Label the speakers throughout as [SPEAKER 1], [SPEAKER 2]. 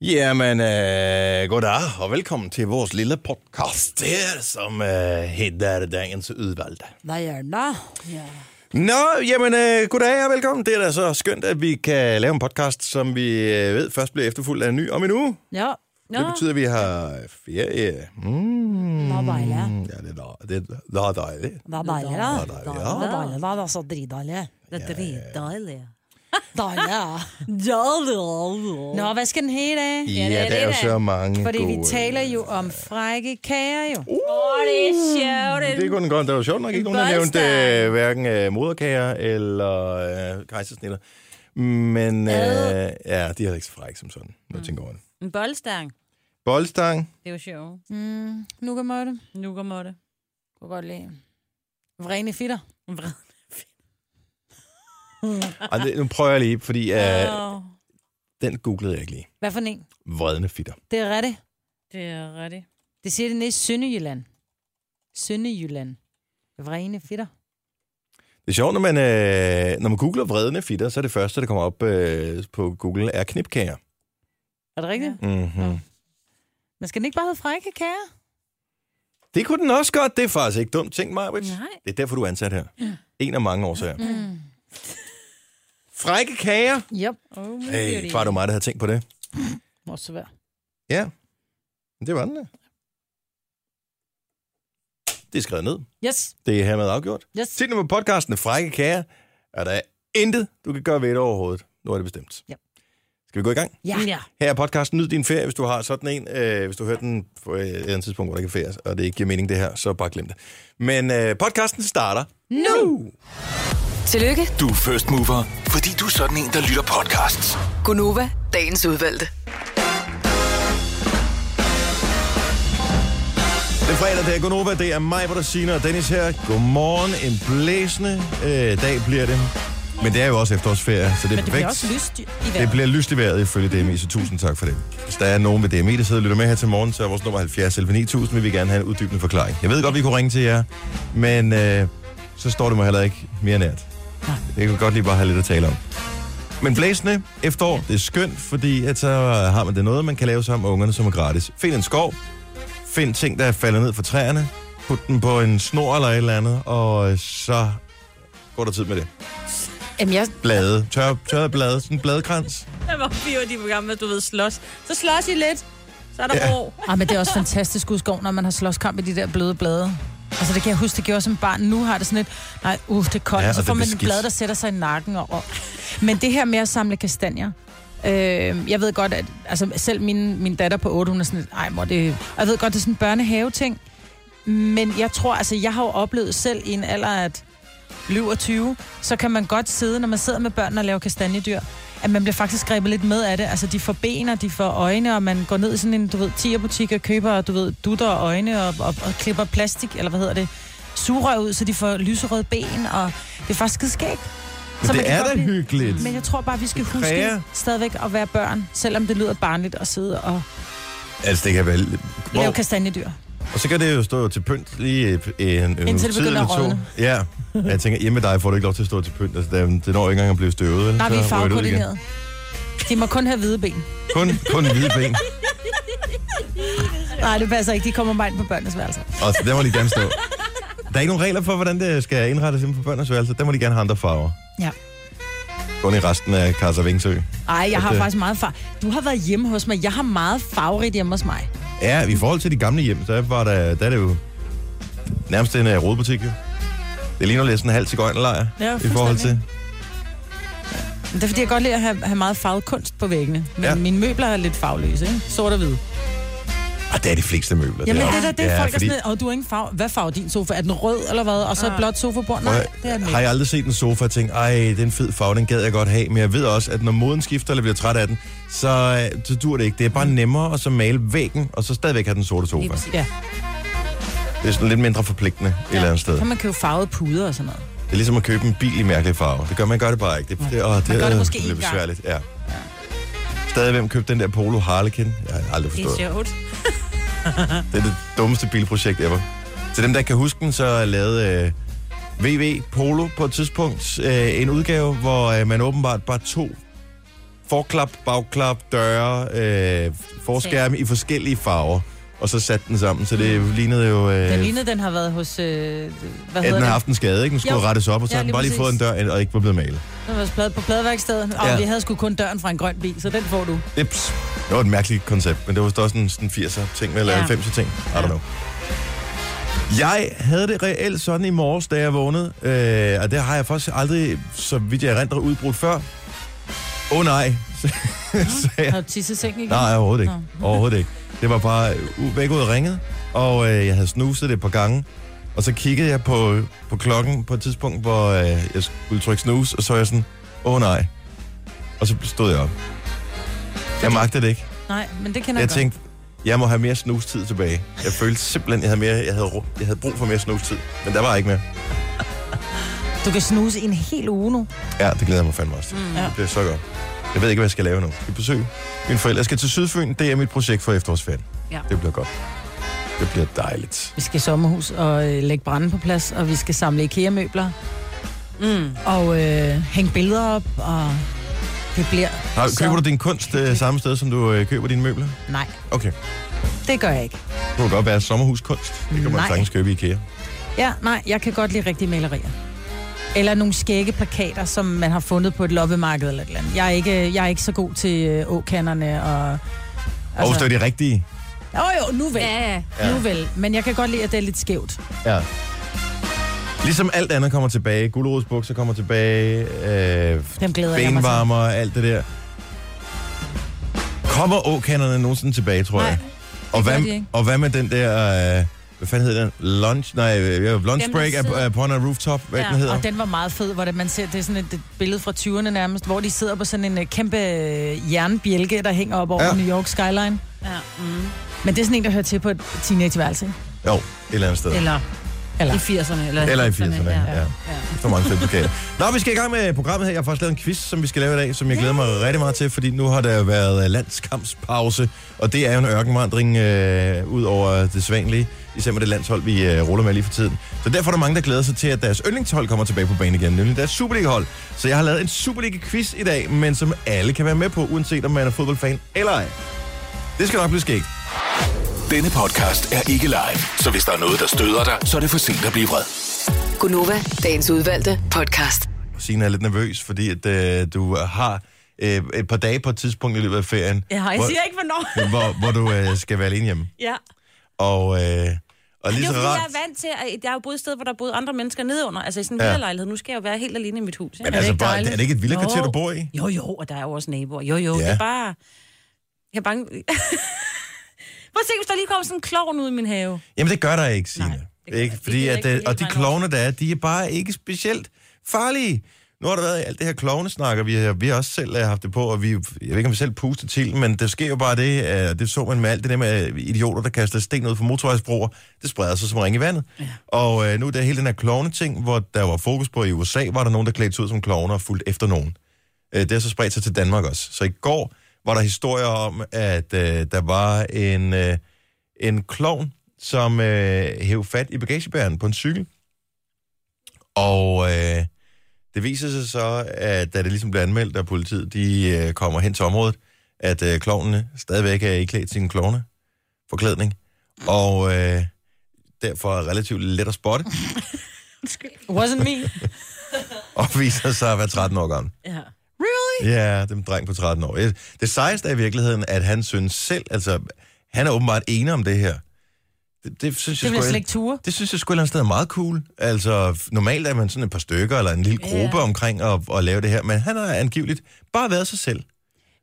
[SPEAKER 1] Jamen, øh, goddag og velkommen til vores lille podcast her, som øh, hedder Dagens Udvalgte.
[SPEAKER 2] Hvad er det? Ja.
[SPEAKER 1] Nå, jamen, øh, goddag og velkommen. Det er da så skønt, at vi kan lave en podcast, som vi øh, ved først bliver efterfulgt af en ny om en uge.
[SPEAKER 2] Ja. Nå,
[SPEAKER 1] Det betyder, at vi har ferie. Mm.
[SPEAKER 2] Hvad dejligt.
[SPEAKER 1] Ja, det er da- det er da dejligt.
[SPEAKER 2] hvad dejlig, da?
[SPEAKER 1] Hvad dejligt, ja.
[SPEAKER 2] Hvad dejlig, hvad er så dridejlig?
[SPEAKER 3] Det er dritdejligt.
[SPEAKER 2] Dejlig, ja. Nå, hvad skal den hedde i dag?
[SPEAKER 1] Ja, der er jo så mange
[SPEAKER 2] Fordi
[SPEAKER 1] gode...
[SPEAKER 2] vi taler jo om frække kager jo.
[SPEAKER 3] Åh, det er sjovt.
[SPEAKER 1] Mm. Det kunne den godt. Der var sjovt nok ikke nogen, der nævnte
[SPEAKER 3] bolster.
[SPEAKER 1] øh, hverken øh, moderkager eller øh, kejsersnitter. Men øh,
[SPEAKER 3] Ad.
[SPEAKER 1] ja, de er ikke så frække som sådan, når jeg tænker over det.
[SPEAKER 3] En boldstang.
[SPEAKER 1] Boldstang.
[SPEAKER 3] Det er jo sjovt.
[SPEAKER 2] Mm, nu kan måtte.
[SPEAKER 3] Nu kommer det.
[SPEAKER 2] Kunne godt lide. Vrene fitter.
[SPEAKER 1] Ej, det, nu prøver jeg lige, fordi øh,
[SPEAKER 3] Åh,
[SPEAKER 1] den googlede jeg ikke lige.
[SPEAKER 2] Hvad for en?
[SPEAKER 1] Vredende fitter.
[SPEAKER 2] Det er rigtigt.
[SPEAKER 3] Det er rigtigt.
[SPEAKER 2] Det siger det nede i Sønderjylland. Sønderjylland. Vrene fitter.
[SPEAKER 1] Det er sjovt, når man, øh, når man googler vredende fitter, så er det første, der kommer op øh, på Google, er knipkager.
[SPEAKER 2] Er det rigtigt? Ja.
[SPEAKER 1] Mm-hmm.
[SPEAKER 2] Men skal den ikke bare hedde frække kager?
[SPEAKER 1] Det kunne den også godt. Det er faktisk ikke dumt. Tænk mig, Rich.
[SPEAKER 3] Nej.
[SPEAKER 1] Det er derfor, du er ansat her. En af mange årsager. Mm. Frække kager.
[SPEAKER 2] Yep.
[SPEAKER 3] Oh, my
[SPEAKER 1] Hey,
[SPEAKER 3] beauty.
[SPEAKER 1] var det mig, der havde tænkt på det?
[SPEAKER 2] Må så være.
[SPEAKER 1] Ja, Men det var den da. Det er skrevet ned.
[SPEAKER 2] Yes.
[SPEAKER 1] Det er hermed afgjort.
[SPEAKER 2] Yes.
[SPEAKER 1] Titlen på podcasten Frække Kager er der intet, du kan gøre ved det overhovedet. Nu er det bestemt.
[SPEAKER 2] Ja.
[SPEAKER 1] Skal vi gå i gang?
[SPEAKER 2] Ja. ja.
[SPEAKER 1] Her er podcasten Nyd din ferie, hvis du har sådan en. Øh, hvis du hører den på øh, et eller andet tidspunkt, hvor der ikke er ferie, og det ikke giver mening det her, så bare glem det. Men øh, podcasten starter nu.
[SPEAKER 4] Tillykke,
[SPEAKER 5] Du er first mover, fordi du er sådan en, der lytter podcasts.
[SPEAKER 4] Gunova, dagens udvalgte.
[SPEAKER 1] Det er fredag, det er Gonova, det er mig, hvor der siger, og Dennis her. Godmorgen, en blæsende øh, dag bliver det. Men det er jo også efterårsferie, så det er
[SPEAKER 2] Men det bliver
[SPEAKER 1] perfekt.
[SPEAKER 2] også lyst i
[SPEAKER 1] Det
[SPEAKER 2] vejret.
[SPEAKER 1] bliver lyst i vejret ifølge DMI, så tusind tak for det. Hvis der er nogen ved DMI, der sidder og lytter med her til morgen, så er vores nummer 70 11 9000. Vi vil gerne have en uddybende forklaring. Jeg ved godt, vi kunne ringe til jer, men øh, så står det mig heller ikke mere nært. Jeg kan godt lige bare have lidt at tale om. Men blæsende efterår, det er skønt, fordi at så har man det noget, man kan lave sammen med ungerne, som er gratis. Find en skov, find ting, der er faldet ned fra træerne, put den på en snor eller et eller andet, og øh, så går der tid med det.
[SPEAKER 2] Jamen, jeg,
[SPEAKER 1] Blade, tør, tørre blade, sådan en bladekrans.
[SPEAKER 3] Der var fire, de var gamle, at du ved, slås. Så slås I lidt. Så er der
[SPEAKER 1] Ja.
[SPEAKER 3] ro.
[SPEAKER 2] Ah, men det er også fantastisk udskov, når man har slåskamp i de der bløde blade. Altså, det kan jeg huske, det gjorde jeg som barn. Nu har det sådan lidt, nej, uh, det er koldt.
[SPEAKER 1] Ja,
[SPEAKER 2] Ja,
[SPEAKER 1] og
[SPEAKER 2] så
[SPEAKER 1] det
[SPEAKER 2] får man
[SPEAKER 1] bliver
[SPEAKER 2] en
[SPEAKER 1] skidt.
[SPEAKER 2] blad, der sætter sig i nakken. Og, og. Men det her med at samle kastanjer, øh, jeg ved godt, at altså, selv min, min datter på 8, hun er sådan lidt, ej, mor, det... Og jeg ved godt, det er sådan en børnehave-ting. Men jeg tror, altså, jeg har jo oplevet selv i en alder af et liv og 20, så kan man godt sidde, når man sidder med børn og laver kastanjedyr, at man bliver faktisk grebet lidt med af det. Altså, de får ben, og de får øjne, og man går ned i sådan en, du ved, tierbutik og køber, du ved, dutter og øjne, og, og, og klipper plastik, eller hvad hedder det, sugerør ud, så de får lyserøde ben, og det er faktisk skægt.
[SPEAKER 1] Men det er da hyggeligt.
[SPEAKER 2] Men jeg tror bare, vi skal
[SPEAKER 1] Det
[SPEAKER 2] huske
[SPEAKER 1] kræver.
[SPEAKER 2] stadigvæk at være børn, selvom det lyder barnligt at sidde og
[SPEAKER 1] Altså, det kan være...
[SPEAKER 2] lave
[SPEAKER 1] Hvor,
[SPEAKER 2] kastanjedyr.
[SPEAKER 1] og så kan det jo stå til pynt lige en, en uge
[SPEAKER 2] Indtil det
[SPEAKER 1] tid
[SPEAKER 2] begynder
[SPEAKER 1] eller
[SPEAKER 2] at
[SPEAKER 1] to.
[SPEAKER 2] rådne.
[SPEAKER 1] Ja, Og jeg tænker, hjemme med dig får du ikke lov til at stå til pynt. Altså, det, det når ikke engang at blive støvet. eller
[SPEAKER 2] Nej, vi
[SPEAKER 1] så
[SPEAKER 2] er
[SPEAKER 1] ryger det ud igen.
[SPEAKER 2] farvekoordineret. De må kun have hvide ben.
[SPEAKER 1] Kun, kun hvide ben.
[SPEAKER 2] Nej, det passer ikke. De kommer bare ind på børnenes værelse.
[SPEAKER 1] Og der må de gerne stå. Der er ikke nogen regler for, hvordan det skal indrettes inde på børnenes værelse. Der må de gerne have andre farver.
[SPEAKER 2] Ja.
[SPEAKER 1] Kun i resten af Kasa Vingsø.
[SPEAKER 2] Ej, jeg har
[SPEAKER 1] Okay.
[SPEAKER 2] okay. faktisk meget far. Du har været hjemme hos mig. Jeg har meget farverigt hjemme hos mig.
[SPEAKER 1] Ja, i forhold til de gamle hjem, så var der, der er det jo nærmest en uh, rodbutik. jo. Det ligner lidt sådan en halv til gøjnelejr
[SPEAKER 2] Ja,
[SPEAKER 1] i forhold til.
[SPEAKER 2] Men Det er fordi, jeg godt lide at have, have meget farvet kunst på væggene. Men
[SPEAKER 1] Ja.
[SPEAKER 2] ja. mine møbler er lidt farveløse, ikke? Sort og hvid.
[SPEAKER 1] Og Ah, det er de fleste møbler.
[SPEAKER 2] Jamen,
[SPEAKER 1] er
[SPEAKER 2] det er da
[SPEAKER 1] også-
[SPEAKER 2] det,
[SPEAKER 1] Ja,
[SPEAKER 2] folk fordi...
[SPEAKER 1] fordi-
[SPEAKER 2] er sådan lidt, "Åh, du har ingen farve. Hvad farve er din sofa? Er den rød eller hvad? Og så et blåt sofabord? Nej, det er den
[SPEAKER 1] har
[SPEAKER 2] ikke.
[SPEAKER 1] jeg aldrig set en sofa og tænkt, ej, det er en fed farve, den gad jeg godt have. Men jeg ved også, at når moden skifter, eller bliver træt af den, så, øh, så dur det ikke. Det er
[SPEAKER 2] Mm.
[SPEAKER 1] bare nemmere at så male væggen, og så stadigvæk have den sorte sofa.
[SPEAKER 3] præcis.
[SPEAKER 2] Ja,
[SPEAKER 1] Det er sådan lidt mindre forpligtende ja. et eller andet sted.
[SPEAKER 2] kan man købe farvede puder og sådan noget.
[SPEAKER 1] Det er ligesom at købe en bil i mærkelige farver. Det gør man gør det bare ikke. Det, det, åh, det,
[SPEAKER 2] Man gør det
[SPEAKER 1] øh,
[SPEAKER 2] måske
[SPEAKER 1] bliver
[SPEAKER 2] én gang.
[SPEAKER 1] besværligt. Ja. Stadig hvem købte den der Polo Harlequin? Jeg har aldrig
[SPEAKER 3] Det
[SPEAKER 1] forstået.
[SPEAKER 3] er sjovt.
[SPEAKER 1] Det er det dummeste bilprojekt ever. Til dem, der ikke kan huske den, så lavede øh, VV Polo på et tidspunkt øh, en udgave, hvor øh, man åbenbart bare tog forklap, bagklap, døre, øh, forskærme i forskellige farver, og så satte den sammen, så det lignede jo... Øh,
[SPEAKER 2] Den Mm. lignede, den har været hos... Øh, hvad
[SPEAKER 1] at
[SPEAKER 2] hedder
[SPEAKER 1] den har
[SPEAKER 2] det?
[SPEAKER 1] haft en skade, ikke? Den skulle
[SPEAKER 2] Jo.
[SPEAKER 1] rettes op, og så
[SPEAKER 2] Ja,
[SPEAKER 1] har den
[SPEAKER 2] lige
[SPEAKER 1] bare lige
[SPEAKER 2] præcis.
[SPEAKER 1] fået en dør, og ikke var blevet malet.
[SPEAKER 2] Den var plade på pladeværkstedet. Og
[SPEAKER 1] Ja.
[SPEAKER 2] vi havde sgu kun døren fra en grøn bil, så den får du.
[SPEAKER 1] Ips. Det var et mærkeligt koncept, men det var også sådan sådan 80'er ting, eller
[SPEAKER 3] Ja.
[SPEAKER 1] 90'er ting. I don't know. Jeg havde det reelt sådan i morges, da jeg vågnede, øh, og det har jeg faktisk aldrig, så vidt jeg erindrer, udbrudt før. Åh oh, nej, sagde jeg.
[SPEAKER 2] Har du tisset sengen igen?
[SPEAKER 1] Nej, overhovedet ikke.
[SPEAKER 2] Nå.
[SPEAKER 1] Overhovedet ikke. Det var bare u- væk ud af ringet, og øh, jeg havde snuset det et par gange. Og så kiggede jeg på, på klokken på et tidspunkt, hvor øh, jeg skulle trykke snus, og så var jeg sådan, åh oh, nej. Og så stod jeg op. Jeg magtede det ikke.
[SPEAKER 2] Nej, men det kender jeg,
[SPEAKER 1] Jeg tænkte, jeg må have mere snustid tilbage. Jeg følte simpelthen, jeg havde, mere, jeg havde, ru- jeg havde brug for mere snustid. Men der var ikke mere.
[SPEAKER 2] godt. Du kan snuse i en hel uge nu.
[SPEAKER 1] Ja, det glæder jeg mig fandme også til.
[SPEAKER 2] Ja.
[SPEAKER 1] Det bliver så godt. Jeg ved ikke, hvad jeg skal lave nu. Jeg skal besøge mine forældre. Jeg skal til Sydfyn. Det er mit projekt for efterårsferien.
[SPEAKER 3] Ja.
[SPEAKER 1] Det bliver godt. Det bliver dejligt.
[SPEAKER 2] Vi skal i sommerhus og øh, lægge branden på plads, og vi skal samle IKEA-møbler. Mm. Og øh, hænge billeder op, og det bliver
[SPEAKER 1] Har,
[SPEAKER 2] så...
[SPEAKER 1] køber du din kunst øh, samme sted, som du øh, køber dine møbler?
[SPEAKER 2] Nej,
[SPEAKER 1] Okay.
[SPEAKER 2] det gør jeg ikke.
[SPEAKER 1] Det kunne godt være sommerhuskunst. Det kan man
[SPEAKER 2] Nej.
[SPEAKER 1] sagtens købe i IKEA.
[SPEAKER 2] Ja, nej, jeg kan godt lide rigtige malerier. Eller nogle skægge plakater, som man har fundet på et loppemarked eller et eller andet. Jeg er ikke, jeg er ikke så god til øh, åkanderne og...
[SPEAKER 1] Og
[SPEAKER 2] Altså-
[SPEAKER 1] hvis det er de rigtige.
[SPEAKER 2] Jo, jo, nu vel.
[SPEAKER 3] Ja,
[SPEAKER 2] Ja.
[SPEAKER 3] ja.
[SPEAKER 2] Nu vel. Men jeg kan godt lide, at det er lidt skævt.
[SPEAKER 1] Ja. Ligesom alt andet kommer tilbage. Gulerodsbukser kommer tilbage. Øh,
[SPEAKER 2] Dem glæder jeg mig til.
[SPEAKER 1] benvarmer og alt det der. Kommer åkanderne nogensinde tilbage, tror
[SPEAKER 2] Nej,
[SPEAKER 1] jeg? Og
[SPEAKER 2] gør
[SPEAKER 1] hvad,
[SPEAKER 2] de ikke.
[SPEAKER 1] og hvad med den der... Øh, hvad fanden hedder den? Lunch? Nej, øh, lunch
[SPEAKER 3] Dem, der
[SPEAKER 1] break
[SPEAKER 3] sidder-
[SPEAKER 1] sidder... upon a rooftop. Hvad
[SPEAKER 3] Ja,
[SPEAKER 1] ja, den hedder?
[SPEAKER 2] Og den var meget fed, hvor det, man ser, det er sådan et, et billede fra 20'erne nærmest, hvor de sidder på sådan en øh, kæmpe øh, jernbjælke, der hænger op over
[SPEAKER 1] Ja.
[SPEAKER 2] ja. New York skyline.
[SPEAKER 3] ja. Mm.
[SPEAKER 2] Men det er sådan en, der hører til på et teenageværelse. ikke?
[SPEAKER 1] Jo, et eller andet sted.
[SPEAKER 3] Eller,
[SPEAKER 2] Eller-
[SPEAKER 3] i 80'erne. Eller,
[SPEAKER 1] Eller i 80'erne, ja. ja.
[SPEAKER 3] ja.
[SPEAKER 1] Så mange fede plakater. Nå, vi skal i gang med programmet her. Jeg har faktisk lavet en quiz, som vi skal lave i dag, som jeg glæder mig rigtig meget til, fordi nu har der været øh, landskampspause, og det er jo en ørkenvandring øh, ud over det svanlige, især med det landshold, vi øh, ruller med lige for tiden. Så derfor er der mange, der glæder sig til, at deres yndlingshold kommer tilbage på banen igen, nemlig deres Superliga-hold. Så jeg har lavet en Superliga-quiz i dag, men som alle kan være med på, uanset om man er fodboldfan eller ej. Det skal nok blive skægt.
[SPEAKER 5] Denne podcast er ikke live, så hvis der er noget, der støder dig, så er det for sent at blive vred.
[SPEAKER 4] Gunova, dagens udvalgte podcast.
[SPEAKER 1] Signe er lidt nervøs, fordi at, øh, du har øh, et par dage på et tidspunkt i løbet af ferien.
[SPEAKER 3] Ja, jeg
[SPEAKER 1] hvor-
[SPEAKER 3] siger ikke, hvornår.
[SPEAKER 1] hvor, hvor du øh, skal være alene hjemme.
[SPEAKER 3] ja.
[SPEAKER 1] Og, øh, og
[SPEAKER 3] Det
[SPEAKER 1] lige
[SPEAKER 3] er
[SPEAKER 1] så
[SPEAKER 3] jo, fordi jeg
[SPEAKER 1] rart...
[SPEAKER 3] er vant til, at jeg har jo boet et sted, hvor der boede andre mennesker nedenunder. Altså i sådan en
[SPEAKER 1] Ja.
[SPEAKER 3] ja. lejlighed. Nu skal jeg jo være helt alene i mit hus. Ikke?
[SPEAKER 1] Men altså,
[SPEAKER 2] ikke
[SPEAKER 1] bare,
[SPEAKER 2] dejligt?
[SPEAKER 1] er det ikke et vildt kvarter,
[SPEAKER 3] Jo.
[SPEAKER 1] du bor i?
[SPEAKER 3] Jo, jo, og der er jo også naboer. Jo, jo,
[SPEAKER 1] Ja.
[SPEAKER 3] ja. det er bare... Jeg er bange... Prøv at se, hvis der lige kommer sådan en klovn ud i min have.
[SPEAKER 1] Jamen, det gør der ikke, Signe.
[SPEAKER 3] Nej,
[SPEAKER 1] Nej,
[SPEAKER 3] det gør
[SPEAKER 1] ikke,
[SPEAKER 3] der- det
[SPEAKER 1] fordi
[SPEAKER 3] gider
[SPEAKER 1] at,
[SPEAKER 3] ikke
[SPEAKER 1] øh,
[SPEAKER 3] hele
[SPEAKER 1] og de
[SPEAKER 3] vejen
[SPEAKER 1] klovne, der er, de er bare ikke specielt farlige. Nu har der været alt det her klovnesnak, og vi har, vi har også selv øh, haft det på, og vi, jeg ved ikke, om vi selv puster til, men der sker jo bare det, øh, det så man med alt det der med øh, idioter, der kaster sten ud fra motorvejsbroer, det spreder sig som ring i vandet. Ja. Og øh, nu er der hele den her klovne-ting, hvor der var fokus på, at i USA var der nogen, der klædte sig ud som klovner og fulgte efter nogen. Øh, Det har så spredt sig til Danmark også. Så i går var der historier om, at øh, der var en, øh, en klovn, som øh, hæv fat i bagagebæren på en cykel. Og øh, det viser sig så, at da det ligesom blev anmeldt, og politiet de, øh, kommer hen til området, at øh, klovnene stadigvæk er iklædt sin klovne forklædning. Og øh, derfor er relativt let at spotte,
[SPEAKER 2] Wasn't me.
[SPEAKER 1] og viser sig at være 13 år gammel.
[SPEAKER 3] Ja.
[SPEAKER 1] Ja, den dreng på 13 år. Eh, Det sejeste er i virkeligheden, at han synes selv, altså, han er åbenbart enig om det her. Det, det synes
[SPEAKER 2] Det
[SPEAKER 1] jeg
[SPEAKER 2] vil jeg
[SPEAKER 1] sgu,
[SPEAKER 2] slet ikke ture.
[SPEAKER 1] det synes jeg sgu et eller andet sted er meget cool. Altså, f- normalt er man sådan et par stykker eller en lille gruppe yeah. omkring at, at lave det her, men han har angiveligt bare været sig selv.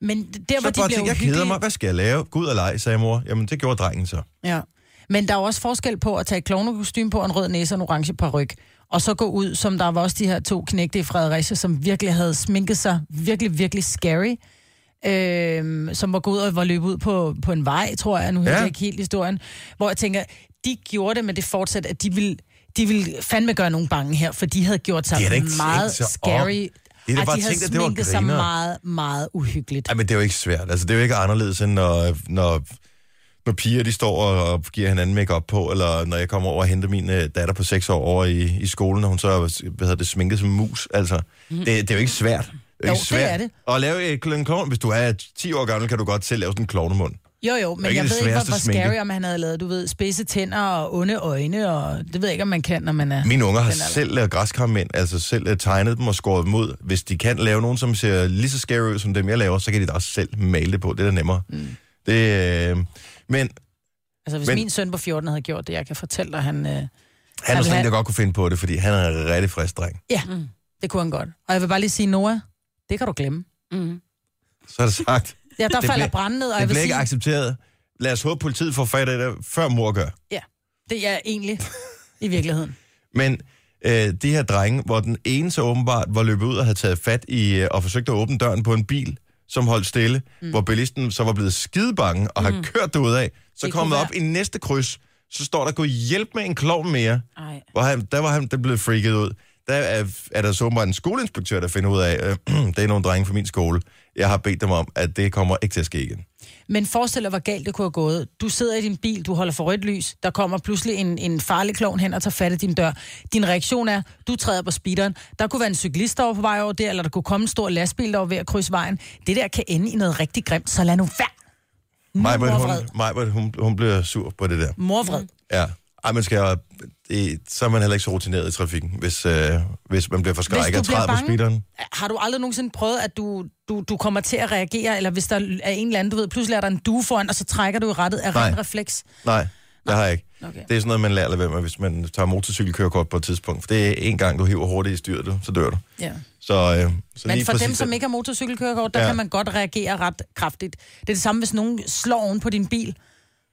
[SPEAKER 2] Men der,
[SPEAKER 1] Så
[SPEAKER 2] hvor de
[SPEAKER 1] bare
[SPEAKER 2] bliver
[SPEAKER 1] tænkt, jeg keder
[SPEAKER 2] uhyggelige-
[SPEAKER 1] mig, hvad skal jeg lave? Gud og leg, sagde mor. Jamen, det gjorde drengen så.
[SPEAKER 2] Ja. Men der er jo også forskel på at tage et klovnekostyme på, og en rød næse og en orange paryk. Og så gå ud, som der var også de her to knægte i Fredericia, som virkelig havde sminket sig virkelig, virkelig scary. Øhm, som var gået ud og var løbet ud på, på en vej, tror jeg. Nu husker
[SPEAKER 1] Ja.
[SPEAKER 2] jeg ikke helt historien. Hvor jeg tænker, de gjorde det, men det fortsat, at de ville, de ville fandme gøre nogen bange her, for de havde gjort sig
[SPEAKER 1] De havde da ikke
[SPEAKER 2] meget
[SPEAKER 1] tænkt sig om. De
[SPEAKER 2] scary. Ej,
[SPEAKER 1] havde bare
[SPEAKER 2] de havde
[SPEAKER 1] tænkt, at det var
[SPEAKER 2] sminket sig
[SPEAKER 1] grineren.
[SPEAKER 2] meget, meget uhyggeligt.
[SPEAKER 1] Ja, men det er jo ikke svært. Altså, det er jo ikke anderledes, end når, når, når piger de står og, og giver hinanden make op på, eller når jeg kommer over og henter min øh, datter på 6 år over i, i skolen, og hun så hvad hedder det, sminket som mus. Altså, det, det er jo ikke svært. ikke
[SPEAKER 2] Mhm. Jo, det
[SPEAKER 1] svært
[SPEAKER 2] er det.
[SPEAKER 1] At lave et en klovn, hvis du er 10 år gammel, kan du godt selv lave sådan en klovnemund.
[SPEAKER 2] Jo, jo, men
[SPEAKER 1] ikke
[SPEAKER 2] jeg
[SPEAKER 1] det
[SPEAKER 2] ved ikke, hvor,
[SPEAKER 1] sværeste
[SPEAKER 2] hvor
[SPEAKER 1] sminke.
[SPEAKER 2] scary, om han havde lavet, du ved, spidse tænder og onde øjne, og det ved jeg ikke, om man kan, når man er...
[SPEAKER 1] Mine unger har
[SPEAKER 2] den alder.
[SPEAKER 1] selv lavet græskarmænd, altså selv øh, tegnet dem og skåret dem ud. Hvis de kan lave nogen, som ser lige så scary ud som dem, jeg laver, så kan de da også selv male det på. Det er da nemmere. Mm. Det, øh, men
[SPEAKER 2] Altså, hvis
[SPEAKER 1] Men-
[SPEAKER 2] men... min søn på 14 havde gjort det, jeg kan fortælle dig, han...
[SPEAKER 1] han
[SPEAKER 2] Øh,
[SPEAKER 1] er
[SPEAKER 2] vil
[SPEAKER 1] sådan en,
[SPEAKER 2] han-
[SPEAKER 1] der godt kunne finde på det, fordi han er en rigtig frisk dreng.
[SPEAKER 2] ja, mm. det kunne han godt. Og jeg vil bare lige sige, Noah, det kan du glemme.
[SPEAKER 1] Så er det sagt.
[SPEAKER 2] Ja, der
[SPEAKER 1] Det
[SPEAKER 2] det falder
[SPEAKER 1] bliver-
[SPEAKER 2] branden ned, og
[SPEAKER 1] Det
[SPEAKER 2] jeg vil
[SPEAKER 1] bliver
[SPEAKER 2] sige...
[SPEAKER 1] ikke accepteret. Lad os håbe, politiet får fat i det, før mor gør.
[SPEAKER 2] Det er egentlig i virkeligheden.
[SPEAKER 1] Men øh, de her drenge, hvor den ene så åbenbart var løbet ud og havde taget fat i øh, og forsøgt at åbne døren på en bil, som holdt stille, mm. hvor bilisten så var blevet skide bange og har kørt derud af, så
[SPEAKER 3] Mm. Det
[SPEAKER 1] kom
[SPEAKER 3] kunne
[SPEAKER 1] der op i næste kryds, så står der, gå hjælp med en klovn mere.
[SPEAKER 3] Ej.
[SPEAKER 1] Hvor han, der var han der blev freaket ud. Der er, er der så åbenbart en skoleinspektør, der finder ud af, øh, det er nogle drenge fra min skole. Jeg har bedt dem om, at det kommer ikke til at ske igen.
[SPEAKER 2] Men forestil dig, hvor galt det kunne have gået. Du sidder i din bil, du holder for rødt lys, der kommer pludselig en, en farlig klovn hen og tager fat i din dør. Din reaktion er, du træder på speederen. Der kunne være en cyklist over på vej over der, eller der kunne komme en stor lastbil over ved at krydse vejen. Det der kan ende i noget rigtig grimt, så lad nu være. Nu er
[SPEAKER 1] Majbert,
[SPEAKER 2] mor
[SPEAKER 1] hun,
[SPEAKER 2] vred.
[SPEAKER 1] Majbert, hun, hun bliver sur på det der.
[SPEAKER 2] Mor vred.
[SPEAKER 1] Ja. Ej, man skal, det, så er man heller ikke så rutineret i trafikken, hvis, øh, hvis man bliver forskrækket
[SPEAKER 2] Hvis
[SPEAKER 1] og
[SPEAKER 2] du bliver
[SPEAKER 1] træder på
[SPEAKER 2] bange-
[SPEAKER 1] speederen.
[SPEAKER 2] Har du aldrig nogensinde prøvet, at du, du, du kommer til at reagere, eller hvis der er en eller anden, du ved, pludselig er der en due foran, og så trækker du i rettet af
[SPEAKER 1] Nej.
[SPEAKER 2] ren refleks?
[SPEAKER 1] Nej, det har jeg ikke.
[SPEAKER 2] Okay.
[SPEAKER 1] Det er sådan noget, man lærer at lade være med, hvis man tager motorcykelkørekort på et tidspunkt. For det er en gang, du hiver hurtigt i styret, du, så dør du.
[SPEAKER 2] Ja.
[SPEAKER 1] Så, øh, så
[SPEAKER 2] Men
[SPEAKER 1] lige
[SPEAKER 2] for
[SPEAKER 1] præcis
[SPEAKER 2] dem, som
[SPEAKER 1] den-
[SPEAKER 2] ikke har motorcykelkørekort, der
[SPEAKER 1] Ja.
[SPEAKER 2] ja. kan man godt reagere ret kraftigt. Det er det samme, hvis nogen slår oven på din bil.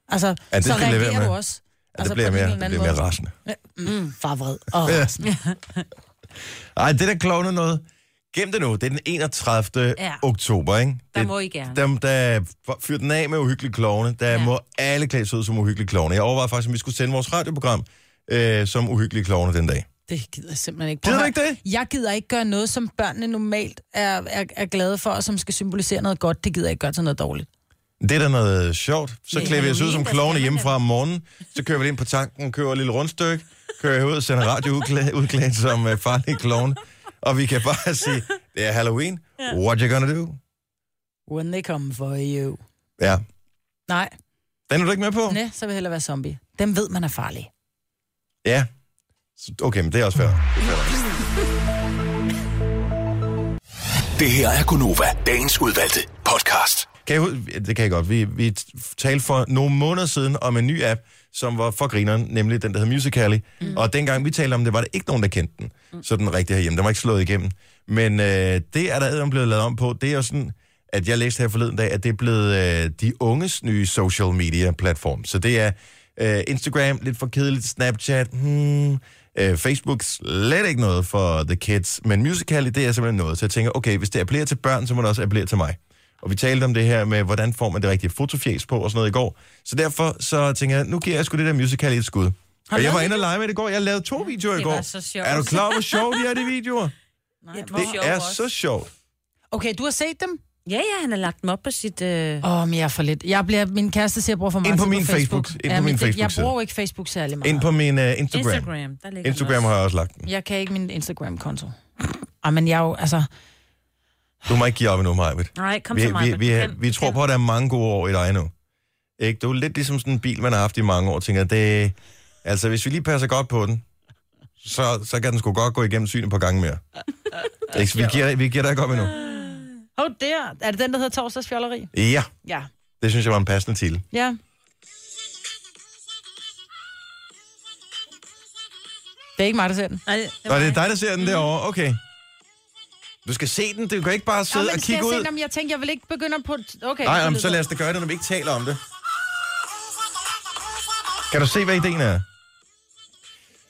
[SPEAKER 2] Altså,
[SPEAKER 1] det skal
[SPEAKER 2] så
[SPEAKER 1] jeg lade
[SPEAKER 2] reagerer
[SPEAKER 1] være
[SPEAKER 2] du
[SPEAKER 1] med.
[SPEAKER 2] også.
[SPEAKER 1] Ja, det bliver
[SPEAKER 2] altså, på den
[SPEAKER 1] mere,
[SPEAKER 2] ene
[SPEAKER 1] det
[SPEAKER 2] eller
[SPEAKER 1] bliver
[SPEAKER 2] anden
[SPEAKER 1] mere rasende.
[SPEAKER 2] måde. Mm, far vred. Og
[SPEAKER 1] Ja.
[SPEAKER 2] rasende.
[SPEAKER 1] Ej, det der klovne noget. Gem det nu. Det er den 31. Ja.
[SPEAKER 3] Ja.
[SPEAKER 1] oktober, ikke?
[SPEAKER 3] Der
[SPEAKER 1] det,
[SPEAKER 3] må I gerne.
[SPEAKER 1] Dem, der fyrer den af med uhyggelige klovne, der ja.
[SPEAKER 3] Ja.
[SPEAKER 1] må alle klæde sig ud som uhyggelige klovne. Jeg overvejede faktisk, om vi skulle sende vores radioprogram øh, som uhyggelige klovne den dag.
[SPEAKER 2] Det gider jeg simpelthen ikke.
[SPEAKER 1] Gider
[SPEAKER 2] Prøv at
[SPEAKER 1] du
[SPEAKER 2] høre,
[SPEAKER 1] ikke
[SPEAKER 2] Jeg gider ikke gøre noget, som børnene normalt er, er, er glade for, og som skal symbolisere noget godt. Det gider jeg ikke gøre til noget dårligt.
[SPEAKER 1] Det er da noget sjovt. Så
[SPEAKER 3] Ja,
[SPEAKER 1] klæder vi os ud som
[SPEAKER 3] Halloween, der
[SPEAKER 1] klovne
[SPEAKER 3] skal man
[SPEAKER 1] hjemmefra
[SPEAKER 3] da.
[SPEAKER 1] om morgenen. Så kører vi ind på tanken, kører et lille rundstykke, kører ud og sender radio udklæ- udklædt som uh, farlige klovne. Og vi kan bare sige, det er Halloween. What you gonna do?
[SPEAKER 2] When they come for you.
[SPEAKER 1] Ja.
[SPEAKER 2] Nej,
[SPEAKER 1] Den er du ikke med på?
[SPEAKER 2] Næ, så vil jeg hellere være zombie. Dem ved man er farlige.
[SPEAKER 1] Ja. Så- Okay, men det er også fair.
[SPEAKER 5] Det her er Gunova, dagens udvalgte podcast.
[SPEAKER 1] Kan jeg, hu- det kan jeg godt. Vi, vi t- talte for nogle måneder siden om en ny app, som var for grineren, nemlig den, der hed Musical.ly. Mm. Og dengang vi talte om det, var der ikke nogen, der kendte den. Mm. Så den rigtig herhjemme. Den var ikke slået igennem. Men øh, det er der æderen blevet lavet om på. Det er jo sådan, at jeg læste her forleden dag, at det er blevet øh, de unges nye social media platform. Så det er øh, Instagram, lidt for kedeligt, Snapchat, hmm, øh, Facebook, slet ikke noget for the kids. Men Musical.ly, det er simpelthen noget. Så jeg tænker, okay, hvis det appellerer til børn, så må det også appellere til mig. Og vi talte om det her med, hvordan får man det rigtige fotofjæs på og sådan noget i går. Så derfor så tænker jeg, nu giver jeg sgu det der musical et skud. Og jeg var inde og lege med det i går. Jeg lavede to videoer i
[SPEAKER 3] Det
[SPEAKER 1] går.
[SPEAKER 3] var så sjovt.
[SPEAKER 1] Er du klar over, hvor sjovt de er, de videoer?
[SPEAKER 3] Nej, det
[SPEAKER 1] Det er så sjovt.
[SPEAKER 2] Okay, du har set dem?
[SPEAKER 3] Ja, ja, han har lagt dem op på sit... Øh...
[SPEAKER 2] Åh, men jeg er for lidt. Jeg bliver, min kæreste siger, at jeg bruger for meget
[SPEAKER 1] Ind på
[SPEAKER 2] tid
[SPEAKER 1] min Facebook. Ind på
[SPEAKER 2] men
[SPEAKER 1] min
[SPEAKER 2] det- Jeg
[SPEAKER 1] Facebook-side.
[SPEAKER 2] bruger jo ikke Facebook særlig meget.
[SPEAKER 1] Ind på min uh, Instagram. Instagram,
[SPEAKER 3] Instagram. Der ligger
[SPEAKER 1] Instagram
[SPEAKER 3] han også.
[SPEAKER 1] har jeg også lagt den.
[SPEAKER 2] Jeg kan ikke min Instagram-konto. Ej, men jeg er jo, altså...
[SPEAKER 1] Du må ikke give op endnu, Majbet.
[SPEAKER 3] Nej, kom
[SPEAKER 1] Vi,
[SPEAKER 3] til mig.
[SPEAKER 1] vi,
[SPEAKER 3] men
[SPEAKER 1] vi,
[SPEAKER 3] du
[SPEAKER 1] vi,
[SPEAKER 3] kan-
[SPEAKER 1] vi
[SPEAKER 3] du
[SPEAKER 1] tror
[SPEAKER 3] kan.
[SPEAKER 1] på, at der er mange gode år i dig nu. Ikke? Det er jo lidt ligesom sådan en bil, man har haft i mange år. og Tænker, det, altså, hvis vi lige passer godt på den, så, så kan den sgu godt gå igennem synet på gange mere. Ikke? Så Vi giver, vi giver dig ikke op endnu.
[SPEAKER 2] Åh, oh, der. Er det den, der hedder Torsdagsfjolleri?
[SPEAKER 1] Ja,
[SPEAKER 2] Ja.
[SPEAKER 1] det synes jeg var en passende til.
[SPEAKER 2] Ja. Det er ikke mig, der ser den.
[SPEAKER 3] Nej,
[SPEAKER 1] Nå, det Mhm. er dig, der ser den derovre. Okay. Du skal se den. Du kan ikke bare sidde og kigge ud.
[SPEAKER 2] Jeg tænkte, jeg vil ikke begynde på... Okay,
[SPEAKER 1] Nej, jamen, så lad os da gøre det, når vi ikke taler om det. Kan du se, hvad ideen er?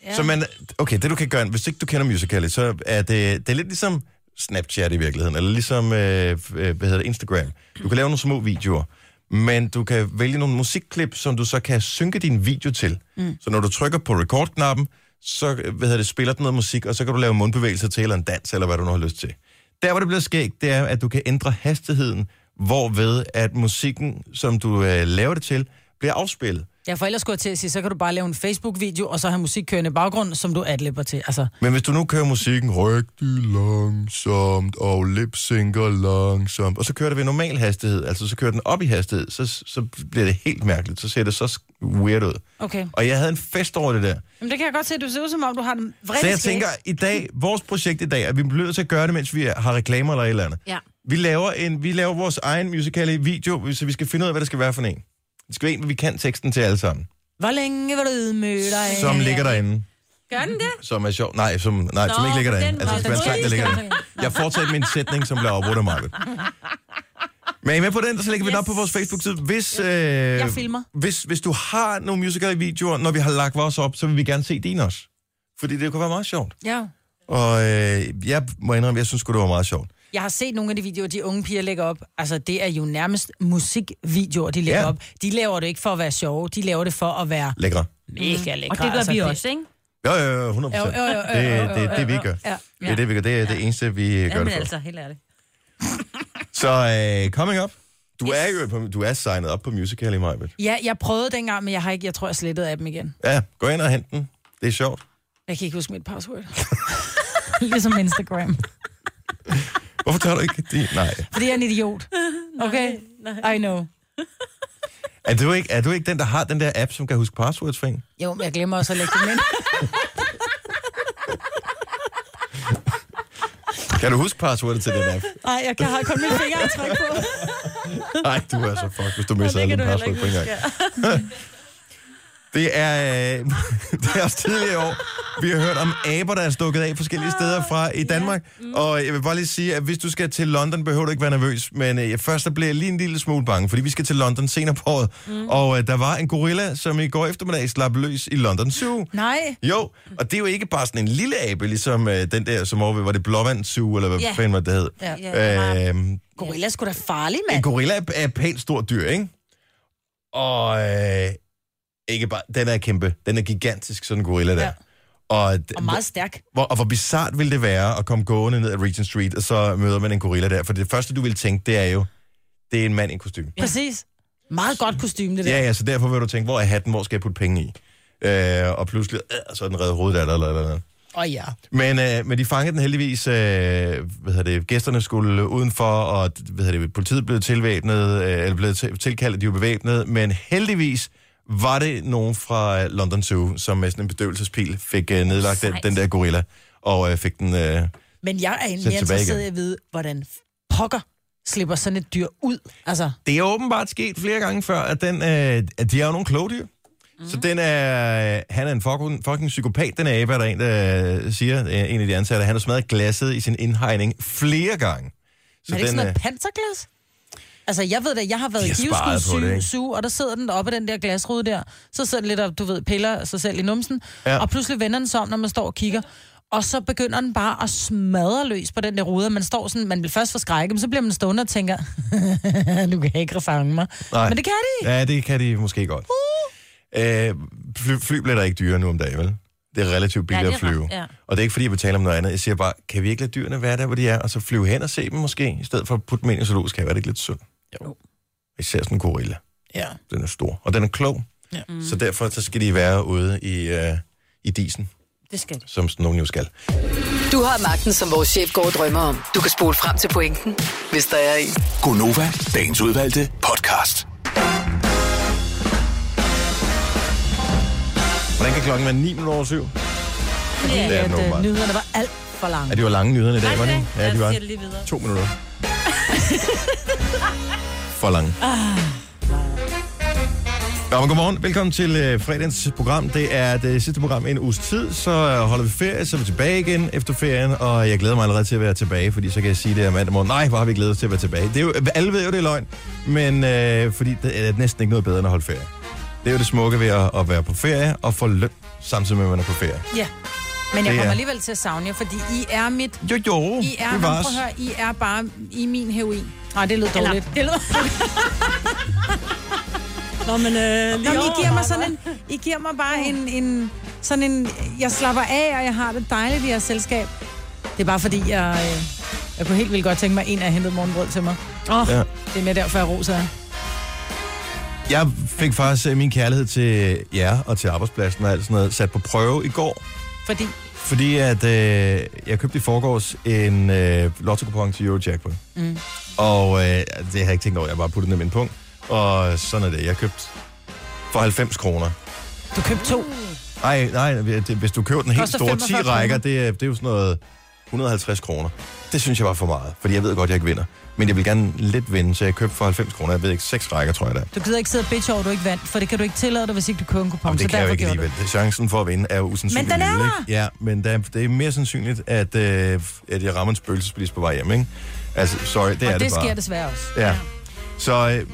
[SPEAKER 1] Ja. Så man, okay, det du kan gøre, hvis ikke du kender Musical.ly, så er det, det er lidt ligesom Snapchat i virkeligheden, eller ligesom øh, øh, hvad hedder det, Instagram. Du kan lave nogle små videoer, men du kan vælge nogle musikklip, som du så kan synke din video til. Mm. Så når du trykker på record-knappen, så øh, hvad hedder det, spiller den noget musik, og så kan du lave mundbevægelser til, eller en dans, eller hvad du nu har lyst til. Der, hvor det bliver skægt, det er, at du kan ændre hastigheden, hvorved at musikken, som du øh, laver det til, bliver afspillet.
[SPEAKER 2] Ja, for ellers skulle jeg til at sige, så kan du bare lave en Facebook-video, og så have musik kørende i baggrund, som du adlipper til. Altså,
[SPEAKER 1] Men hvis du nu kører musikken rigtig langsomt, og lipsynker langsomt, og så kører det ved normal hastighed, altså så kører den op i hastighed, så, så bliver det helt mærkeligt, så ser det så sk- weird ud.
[SPEAKER 2] okay.
[SPEAKER 1] Og jeg havde en fest over det der.
[SPEAKER 2] Jamen, det kan jeg godt se, du ser ud som om, du har den
[SPEAKER 1] Så
[SPEAKER 2] vrede
[SPEAKER 1] jeg tænker, i dag, vores projekt i dag, at vi bliver nødt til at gøre det, mens vi er- har reklamer eller et eller andet.
[SPEAKER 3] Ja.
[SPEAKER 1] Vi laver, en, vi laver vores egen musicale video, så vi skal finde ud af, hvad det skal være for en. Det skal være en, hvor vi kan teksten til alle sammen,
[SPEAKER 2] Hvor længe vil du ydmyge dig?
[SPEAKER 1] som ligger derinde.
[SPEAKER 3] Gør den det?
[SPEAKER 1] som er sjov. Nej, som, nej, Nå, som ikke ligger
[SPEAKER 3] på
[SPEAKER 1] derinde.
[SPEAKER 3] den
[SPEAKER 1] Altså,
[SPEAKER 3] måde.
[SPEAKER 1] det skal være en sang, der ligger derinde. Jeg fortsætter min sætning, som bliver afbrudt af Marvind. Men er I med på den, så lægger vi den op på vores Facebook-side. Hvis, øh, jeg
[SPEAKER 2] filmer.
[SPEAKER 1] Hvis, hvis du har nogle musical-videoer, når vi har lagt vores op, så vil vi gerne se din også. Fordi det kunne være meget sjovt.
[SPEAKER 2] Ja.
[SPEAKER 1] Og øh, jeg må indrømme, jeg synes sgu, det var meget sjovt.
[SPEAKER 2] Jeg har set nogle af de videoer, de unge piger lægger op. Altså, det er jo nærmest musikvideoer, de lægger
[SPEAKER 1] Ja.
[SPEAKER 2] ja. op. De laver det ikke for at være sjove, de laver det for at være
[SPEAKER 1] Lækre.
[SPEAKER 2] mega lækre.
[SPEAKER 3] Og det gør
[SPEAKER 2] altså,
[SPEAKER 3] vi også, ikke?
[SPEAKER 1] Jo, jo, jo, 100 procent.
[SPEAKER 2] Jo, jo, jo, jo,
[SPEAKER 1] Det er det, er det, vi gør. Det er det, vi gør. Det er det eneste, vi gør
[SPEAKER 3] Ja,
[SPEAKER 1] det
[SPEAKER 3] men
[SPEAKER 1] for.
[SPEAKER 3] altså, helt ærligt.
[SPEAKER 1] Så øh, coming up. Du er jo på, du er signet op på musical i Majbet.
[SPEAKER 2] Ja, jeg prøvede dengang, men jeg har ikke, jeg tror, jeg slettede af dem igen.
[SPEAKER 1] Ja, gå ind og hent den. Det er sjovt.
[SPEAKER 2] Jeg kan ikke huske mit password. ligesom Instagram.
[SPEAKER 1] Hvorfor tager du ikke det? Nej.
[SPEAKER 2] Fordi jeg er en idiot. Okay? I know.
[SPEAKER 1] Er du, ikke, er du ikke den, der har den der app, som kan huske passwords for en?
[SPEAKER 2] Jo, men jeg glemmer også at lægge dem ind.
[SPEAKER 1] Kan du huske passwordet til den app?
[SPEAKER 2] Nej, jeg kan har kun mit fingeraftryk på.
[SPEAKER 1] Nej, du er så fuck, hvis du misser alle
[SPEAKER 3] kan
[SPEAKER 1] dine
[SPEAKER 3] du heller
[SPEAKER 1] password
[SPEAKER 3] ikke
[SPEAKER 1] på en gang. Det er, øh, det er også tidligere i år. Vi har hørt om aber, der er stukket af forskellige
[SPEAKER 3] Ah,
[SPEAKER 1] steder fra i Danmark.
[SPEAKER 3] Mm.
[SPEAKER 1] Og jeg vil bare lige sige, at hvis du skal til London, behøver du ikke være nervøs. Men øh, først der blev jeg lige en lille smule bange, fordi vi skal til London senere på året.
[SPEAKER 3] Mm.
[SPEAKER 1] Og øh, der var en gorilla, som i går eftermiddag slap løs i London Zoo.
[SPEAKER 2] Nej.
[SPEAKER 1] Jo, og det er jo ikke bare sådan en lille abe, ligesom øh, den der, som over ved, var det Blåvand Zoo, eller hvad
[SPEAKER 3] Ja.
[SPEAKER 1] fanden var det, hed.
[SPEAKER 2] Ja.
[SPEAKER 1] Øh,
[SPEAKER 2] Gorilla er sgu da farlig,
[SPEAKER 1] en
[SPEAKER 2] mand.
[SPEAKER 1] gorilla er, er et pænt stort dyr, ikke? Og øh, ikke bare, den er kæmpe, den er gigantisk, sådan en gorilla der.
[SPEAKER 2] Ja.
[SPEAKER 1] Og, d-
[SPEAKER 2] Og meget stærk.
[SPEAKER 1] hvor, og hvor bizart ville det være at komme gående ned ad Regent Street, og så møder man en gorilla der. For det første, du vil tænke, det er jo, det er en mand i kostume.
[SPEAKER 2] Præcis. Meget godt kostume, det der.
[SPEAKER 1] Ja, ja, så derfor vil du tænke, hvor er hatten, hvor skal jeg putte penge i? Øh, og pludselig, øh, så er den reddet hovedet af dig, eller, eller, eller.
[SPEAKER 2] Åh oh, ja.
[SPEAKER 1] Men, øh, men de fangede den heldigvis. Øh, hvad hedder det, gæsterne skulle udenfor, og hvad hedder det, politiet blev tilvæbnet, øh, eller blev til- tilkaldt, at de var bevæbnet. Men heldigvis var det nogen fra øh, London Zoo, som med sådan en bedøvelsespil fik øh, nedlagt den,
[SPEAKER 3] Sejt.
[SPEAKER 1] den der gorilla, og øh, fik den... Øh,
[SPEAKER 2] Men jeg er egentlig
[SPEAKER 1] Sæt tilbage
[SPEAKER 2] mere interesseret
[SPEAKER 1] igen.
[SPEAKER 2] i at vide, hvordan pokker slipper sådan et dyr ud. Altså,
[SPEAKER 1] det er åbenbart sket flere gange før, at, den, øh, at de er jo nogle kloge dyr. Så
[SPEAKER 2] Mhm.
[SPEAKER 1] den er, øh, han er en fucking, fucking psykopat, den abe, er der en, der øh, siger, øh, en af de ansatte. Han har smadret glasset i sin indhegning flere gange. øh,
[SPEAKER 2] så er det ikke sådan noget panserglas? Altså, jeg ved da, jeg har været
[SPEAKER 1] De
[SPEAKER 2] i
[SPEAKER 1] har sparet på det,
[SPEAKER 2] Giveskud
[SPEAKER 1] ikke?
[SPEAKER 2] syge, og der sidder den oppe af den der glasrude der. Så sidder den lidt og, du ved, piller sig selv i numsen.
[SPEAKER 1] Ja.
[SPEAKER 2] Ja. Og pludselig vender den sig om, når man står og kigger. Og så begynder den bare at smadre løs på den der rude, og man står sådan, man bliver først forskrækket, men så bliver man stående og tænker, du kan ikke fange mig.
[SPEAKER 1] Nej.
[SPEAKER 2] Men det kan de.
[SPEAKER 1] Ja, det kan de måske godt. Øh, fly, flybilletter er ikke dyre nu om dagen, vel? Det er relativt billigt
[SPEAKER 3] det
[SPEAKER 1] ja,
[SPEAKER 3] er
[SPEAKER 1] at flyve.
[SPEAKER 3] ret, ja.
[SPEAKER 1] Og det er ikke, fordi jeg betaler om noget andet. Jeg siger bare, kan vi ikke lade dyrene være der, hvor de er, og så flyve hen og se dem måske, i stedet for at putte dem ind i en zoologisk have? Er det ikke lidt synd? Jo. Især sådan en gorilla.
[SPEAKER 2] Ja.
[SPEAKER 1] Den er stor, og den er klog. Ja.
[SPEAKER 2] Ja.
[SPEAKER 1] Så derfor så skal de være ude i, øh, i disen,
[SPEAKER 3] Det skal det.
[SPEAKER 1] som sådan nogen jo skal.
[SPEAKER 4] Du har magten, som vores chef går og drømmer om. Du kan spole frem til pointen, hvis der er en.
[SPEAKER 5] Gonova, dagens udvalgte podcast.
[SPEAKER 1] Hvordan kan klokken være 9 minutter over 7?
[SPEAKER 2] Fordi
[SPEAKER 1] Det er den
[SPEAKER 2] at, øh,
[SPEAKER 1] åbenbart.
[SPEAKER 2] nyhederne var alt for lange.
[SPEAKER 1] Ja, det var lange nyhederne i dag,
[SPEAKER 3] Nej,
[SPEAKER 1] var det?
[SPEAKER 3] det
[SPEAKER 1] ikke?
[SPEAKER 3] er det.
[SPEAKER 1] de var.
[SPEAKER 3] Ja, det siger det lige videre.
[SPEAKER 1] To minutter. For lange. Nå, men godmorgen. Velkommen til øh, fredagens program. Det er det sidste program i en uges tid, så øh, holder vi ferie, så er vi tilbage igen efter ferien, og jeg glæder mig allerede til at være tilbage, fordi så kan jeg sige det her mandag morgen. Nej, hvor har vi glædet os til at være tilbage. Det er jo, alle ved jo, det er løgn, men øh, fordi det er næsten ikke noget bedre end at holde ferie. Det er jo det smukke ved at, at være på ferie og få løn samtidig med, at man er på ferie.
[SPEAKER 2] Ja. Men jeg
[SPEAKER 1] Det er-
[SPEAKER 2] kommer alligevel til at savne jer, fordi I er mit...
[SPEAKER 1] Jo, jo,
[SPEAKER 2] I er,
[SPEAKER 1] det
[SPEAKER 2] men
[SPEAKER 1] var
[SPEAKER 2] prøv
[SPEAKER 1] os.
[SPEAKER 2] at høre, I er bare i min heroin. Nej, det lød dårligt.
[SPEAKER 3] Eller, det lyder... Nå, men... Øh,
[SPEAKER 2] Nå, men I giver mig sådan en... I giver mig bare en, en... Sådan en... Jeg slapper af, og jeg har det dejligt i jeres selskab. Det er bare fordi, jeg... øh, Jeg kunne helt vildt godt tænke mig, at en af hentet morgenbrød til mig. Åh, oh,
[SPEAKER 1] Ja.
[SPEAKER 2] ja. det er mere derfor, jeg roser jer.
[SPEAKER 1] Jeg fik faktisk øh, min kærlighed til jer og til arbejdspladsen og alt sådan noget sat på prøve i går,
[SPEAKER 2] Fordi,
[SPEAKER 1] fordi at øh, jeg købte i forgårs en øh, lotto til Eurojackpot. Mm. Og øh, det har jeg ikke tænkt over, jeg har bare puttet den i min punkt. Og sådan er det. Jeg købte for 90 kroner.
[SPEAKER 2] du købte to.
[SPEAKER 1] Nej, nej, det, hvis du køber den helt
[SPEAKER 2] Koster
[SPEAKER 1] store 10
[SPEAKER 2] 45
[SPEAKER 1] rækker, det, er- det er jo sådan noget 150 kroner. Det synes jeg var for meget, fordi jeg ved godt, jeg ikke vinder. Men jeg vil gerne lidt vinde, så jeg købte for 90 kroner. Jeg ved ikke, 6 rækker, tror jeg da.
[SPEAKER 2] Du gider ikke sidde og bitch over, at du ikke vandt, for det kan du ikke tillade dig, hvis ikke du køber en kupon.
[SPEAKER 1] Jamen, det
[SPEAKER 2] så
[SPEAKER 1] kan jeg jo
[SPEAKER 2] derfor
[SPEAKER 1] ikke
[SPEAKER 2] gjorde du
[SPEAKER 1] alligevel. Chancen for at vinde er jo usandsynlig
[SPEAKER 2] Men den er
[SPEAKER 1] lille,
[SPEAKER 2] der!
[SPEAKER 1] ikke? Ja, men der, det er mere sandsynligt, at, øh, at jeg rammer en spøgelsesblis på vej hjem, ikke? Altså, sorry, det
[SPEAKER 2] det.
[SPEAKER 1] er
[SPEAKER 2] Og
[SPEAKER 1] det
[SPEAKER 2] det
[SPEAKER 1] bare.
[SPEAKER 2] sker desværre også.
[SPEAKER 1] Ja. Så, øh,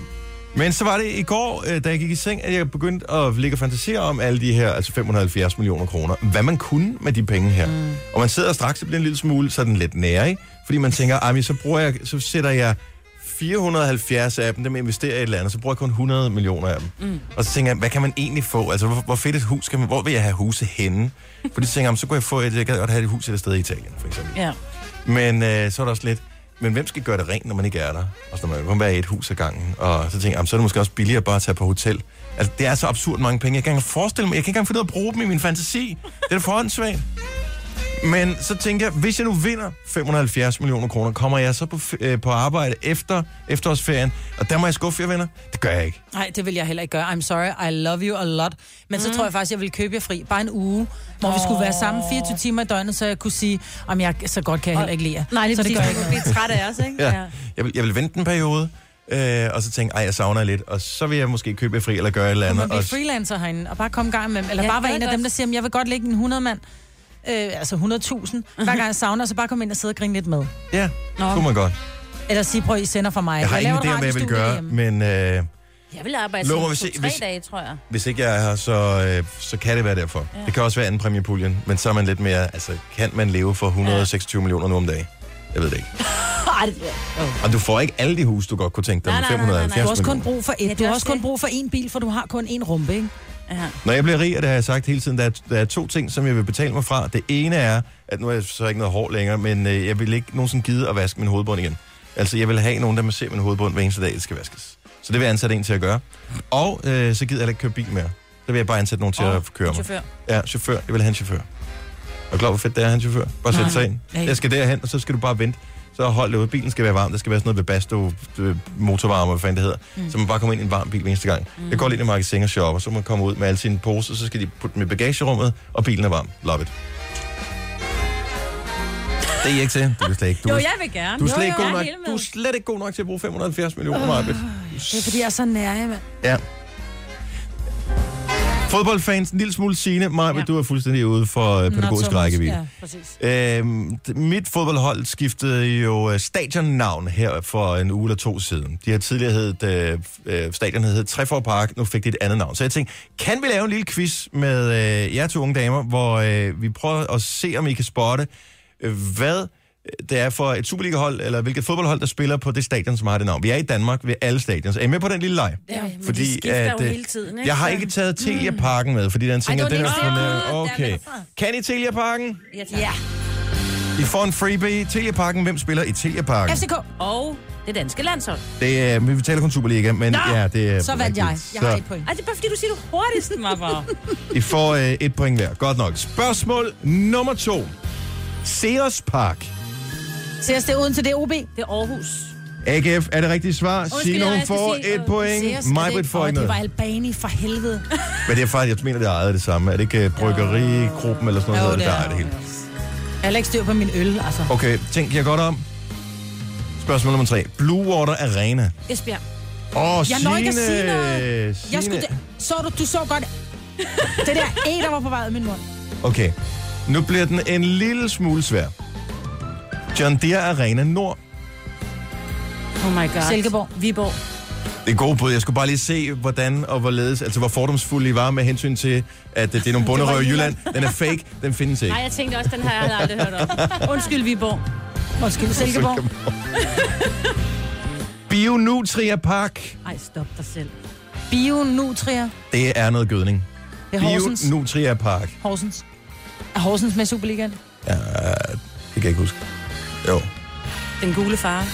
[SPEAKER 1] men så var det i går, øh, da jeg gik i seng, at jeg begyndte at ligge og fantasere om alle de her, altså 570 millioner kroner, hvad man kunne med de penge her. Mm. Og man sidder straks og bliver en lille smule sådan lidt nære, ikke? Fordi man tænker, "Ej, men så, bruger jeg, så sætter jeg 470 af dem, dem investerer jeg i et eller andet, så bruger jeg kun 100 millioner af dem. Mm. Og så tænker jeg, hvad kan man egentlig få? Altså, hvor, hvor fedt et hus kan man, hvor vil jeg have huse henne? Fordi så tænker jeg, "Jamen, så kunne jeg få et, jeg gad godt have et hus et sted i Italien, for eksempel.
[SPEAKER 3] Ja.
[SPEAKER 1] Men øh, så er der også lidt, men hvem skal gøre det rent, når man ikke er der? Og så når man kun være i et hus ad gangen. Og så tænker jeg, jamen, så er det måske også billigere bare at tage på hotel. Altså, det er så absurd mange penge. Jeg kan ikke engang forestille mig, jeg kan ikke engang finde ud af at bruge dem i min fantasi. Det er da for åndssvagt. Men så tænker jeg, hvis jeg nu vinder 570 millioner kroner, kommer jeg så på, f- øh, på arbejde efter efterårsferien, og der må jeg skuffe jer venner? Det gør jeg ikke.
[SPEAKER 2] Nej, det vil jeg heller ikke gøre. I'm sorry, I love you a lot. Men mm. så tror jeg faktisk, jeg vil købe jer fri. Bare en uge, hvor oh. vi skulle være sammen 24 timer i døgnet, så jeg kunne sige, om jeg så godt kan jeg heller ikke lide jer.
[SPEAKER 3] Nej, det
[SPEAKER 2] så
[SPEAKER 3] er
[SPEAKER 2] det
[SPEAKER 3] fordi,
[SPEAKER 2] gør jeg ikke.
[SPEAKER 3] du bliver træt af os, ikke?
[SPEAKER 1] Ja. Ja. Jeg, vil, jeg vil vente en periode, øh, og så tænke, ej, jeg savner jer lidt, og så vil jeg måske købe jer fri, eller gøre et eller andet.
[SPEAKER 2] Man bliver
[SPEAKER 1] og-
[SPEAKER 2] freelancer herinde, og bare komme i gang med dem. Eller
[SPEAKER 3] Ja,
[SPEAKER 2] ja, bare
[SPEAKER 3] det
[SPEAKER 2] være
[SPEAKER 3] er
[SPEAKER 2] en af
[SPEAKER 3] godt.
[SPEAKER 2] dem, der siger, "Jamen, jeg vil godt lægge en 100 mand. Øh, altså 100.000. Hver gang jeg savner, så bare komme ind og sidde og grine lidt med.
[SPEAKER 1] Ja,
[SPEAKER 3] Nå.
[SPEAKER 1] det kunne man godt.
[SPEAKER 2] Eller sige, prøv, I sender for mig.
[SPEAKER 1] Jeg har ingen
[SPEAKER 2] Altså, laver
[SPEAKER 1] idé
[SPEAKER 2] et
[SPEAKER 1] om, hvad jeg vil
[SPEAKER 2] radiostudie
[SPEAKER 1] gøre,
[SPEAKER 2] derhjemme.
[SPEAKER 1] men øh,
[SPEAKER 3] Jeg vil arbejde
[SPEAKER 1] Lov mig,
[SPEAKER 3] sådan
[SPEAKER 1] hvis
[SPEAKER 3] to-tre
[SPEAKER 1] I- hvis-
[SPEAKER 3] dage, tror jeg.
[SPEAKER 1] hvis ikke jeg er her, så, øh, så kan det være derfor. Ja. Det kan også være anden præmiepuljen, men så er man lidt mere, altså, kan man leve for 126 ja. millioner nu om dagen? Jeg ved det ikke.
[SPEAKER 3] Ej, det-
[SPEAKER 1] Og du får ikke alle de huse, du godt kunne tænke dig
[SPEAKER 3] Nej,
[SPEAKER 1] med
[SPEAKER 3] nej, nej, nej,
[SPEAKER 1] 570
[SPEAKER 3] nej.
[SPEAKER 2] Du har også kun
[SPEAKER 1] millioner.
[SPEAKER 2] brug for
[SPEAKER 3] Ja,
[SPEAKER 2] et.
[SPEAKER 3] det
[SPEAKER 2] Du
[SPEAKER 3] er
[SPEAKER 2] har
[SPEAKER 3] også
[SPEAKER 2] også kun
[SPEAKER 3] det.
[SPEAKER 2] brug for en bil, for du har kun en rumpe, ikke?
[SPEAKER 3] Ja.
[SPEAKER 1] Når jeg bliver rig, og det har jeg sagt hele tiden, der er, der er to ting, som jeg vil betale mig fra. Det ene er, at nu er jeg så ikke noget hår længere, men øh, jeg vil ikke nogensinde gide at vaske min hovedbund igen. Altså, jeg vil have nogen, der må se min hovedbund hver eneste dag, det skal vaskes. Så det vil jeg ansætte en til at gøre. Og øh, så gider jeg heller ikke køre bil mere. Så vil jeg bare ansætte nogen til
[SPEAKER 3] Åh,
[SPEAKER 1] at køre
[SPEAKER 3] en
[SPEAKER 1] mig.
[SPEAKER 3] chauffør.
[SPEAKER 1] Ja, chauffør. Jeg vil have en chauffør. Og klar, hvor fedt det er, at have en chauffør. Bare sætte sig ind.
[SPEAKER 2] Ja, ja.
[SPEAKER 1] Jeg skal derhen, og så skal du bare vente. Så hold det ud. Bilen skal være varm. Der skal være sådan noget Webasto øh, motorvarme, hvad fanden det hedder. Mm. Så man bare kommer ind i en varm bil hver eneste gang. Mm. Jeg går lige ind i Marketing og shopper, så må man komme ud med alle sine poser, så skal de putte dem i bagagerummet, og bilen er varm. Love it. Det er I ikke til. Du er slet ikke, du
[SPEAKER 3] Jo,
[SPEAKER 1] er,
[SPEAKER 3] jeg vil gerne.
[SPEAKER 1] du er
[SPEAKER 3] Jo,
[SPEAKER 1] slet
[SPEAKER 3] jo,
[SPEAKER 1] ikke god
[SPEAKER 3] jeg er
[SPEAKER 1] nok,
[SPEAKER 3] helt med.
[SPEAKER 1] du er slet ikke god nok til at bruge 570 millioner, Marbet.
[SPEAKER 2] Det er, fordi jeg er så nær, mand.
[SPEAKER 1] Ja. Fodboldfans, en lille smule sine. Maja,
[SPEAKER 3] Ja.
[SPEAKER 1] du er fuldstændig ude for øh, pædagogisk
[SPEAKER 2] Thomas.
[SPEAKER 1] rækkevidde.
[SPEAKER 2] Ja, præcis.
[SPEAKER 1] Øhm, d- mit fodboldhold skiftede jo øh, stadionnavn her for en uge eller to siden. De har tidligere heddet, øh, øh, stadionet hed Trefor Park, nu fik de et andet navn. Så jeg tænkte, kan vi lave en lille quiz med øh, jer to unge damer, hvor øh, vi prøver at se, om I kan spotte, øh, hvad øh, det er for et Superliga-hold, eller hvilket fodboldhold, der spiller på det stadion, som har det navn. Vi er i Danmark ved alle stadions. Er I med på den lille leg?
[SPEAKER 3] Ja, men de
[SPEAKER 1] fordi
[SPEAKER 3] skifter
[SPEAKER 1] at,
[SPEAKER 3] jo
[SPEAKER 1] øh,
[SPEAKER 3] hele tiden, ikke?
[SPEAKER 1] Jeg har
[SPEAKER 3] Så- Mm.
[SPEAKER 1] ikke taget Telia-parken med, fordi den tænker,
[SPEAKER 3] var
[SPEAKER 1] den
[SPEAKER 3] den
[SPEAKER 1] er
[SPEAKER 3] ikke
[SPEAKER 1] for
[SPEAKER 3] selv.
[SPEAKER 1] nær. Okay. Kan I Telia-parken?
[SPEAKER 3] Ja, tak. ja.
[SPEAKER 1] I får en freebie i Telia-parken. Hvem spiller i Telia-parken?
[SPEAKER 2] FCK,
[SPEAKER 3] Og det danske landshold.
[SPEAKER 1] Det er, vi taler kun Superliga, men Nå! ja, det er...
[SPEAKER 2] så vandt jeg.
[SPEAKER 1] rigtigt.
[SPEAKER 2] Jeg har
[SPEAKER 1] Så
[SPEAKER 2] et point.
[SPEAKER 3] Ej, det er bare fordi, du siger det hurtigst, Mapper.
[SPEAKER 1] I får øh, et point hver. Godt nok. Spørgsmål nummer to. Ceres Park.
[SPEAKER 2] Ses det uden til det OB?
[SPEAKER 3] Det er Aarhus.
[SPEAKER 1] AGF er det rigtige svar. Signe,
[SPEAKER 3] jeg
[SPEAKER 1] hun
[SPEAKER 3] skal
[SPEAKER 1] får
[SPEAKER 3] sige,
[SPEAKER 1] et
[SPEAKER 3] øh,
[SPEAKER 1] point. Majbrit får ikke
[SPEAKER 2] Det var
[SPEAKER 1] noget.
[SPEAKER 2] Albani for helvede.
[SPEAKER 1] Men det er faktisk, jeg mener, det er ejet af det samme. Er det ikke øh, bryggerigruppen eller sådan
[SPEAKER 2] Jo,
[SPEAKER 1] noget,
[SPEAKER 2] det
[SPEAKER 1] der
[SPEAKER 2] er
[SPEAKER 1] ejer det hele?
[SPEAKER 2] Jeg har ikke styr på min øl, altså.
[SPEAKER 1] Okay, tænk jeg godt om. Spørgsmål nummer tre. Blue Water Arena.
[SPEAKER 3] Esbjerg.
[SPEAKER 1] Åh, oh,
[SPEAKER 2] Jeg
[SPEAKER 1] Signe!
[SPEAKER 2] når ikke at sige noget.
[SPEAKER 1] Signe.
[SPEAKER 2] Jeg skulle, så du, du så godt det der æg, der var på vej ud af min mund.
[SPEAKER 1] Okay, nu bliver den en lille smule svær. John Deere Arena Nord.
[SPEAKER 3] Oh my god.
[SPEAKER 2] Silkeborg.
[SPEAKER 3] Viborg.
[SPEAKER 1] Det er gode bud. Jeg skulle bare lige se, hvordan og hvorledes, altså hvor fordomsfulde I var med hensyn til, at øh, det er nogle bunderøv i Jylland. Den er fake, den findes ikke.
[SPEAKER 3] Nej, jeg tænkte også, den her jeg havde aldrig hørt om. Undskyld, Viborg.
[SPEAKER 2] Undskyld, Silkeborg.
[SPEAKER 1] Bio Nutria Park.
[SPEAKER 3] Ej, stop dig selv.
[SPEAKER 2] Bio Nutria.
[SPEAKER 1] Det er noget gødning.
[SPEAKER 2] Det er Horsens.
[SPEAKER 1] Bio Nutria Park.
[SPEAKER 2] Horsens. Er Horsens med i Superligaen?
[SPEAKER 1] Ja, det kan jeg ikke huske. Jo.
[SPEAKER 3] Den gule far.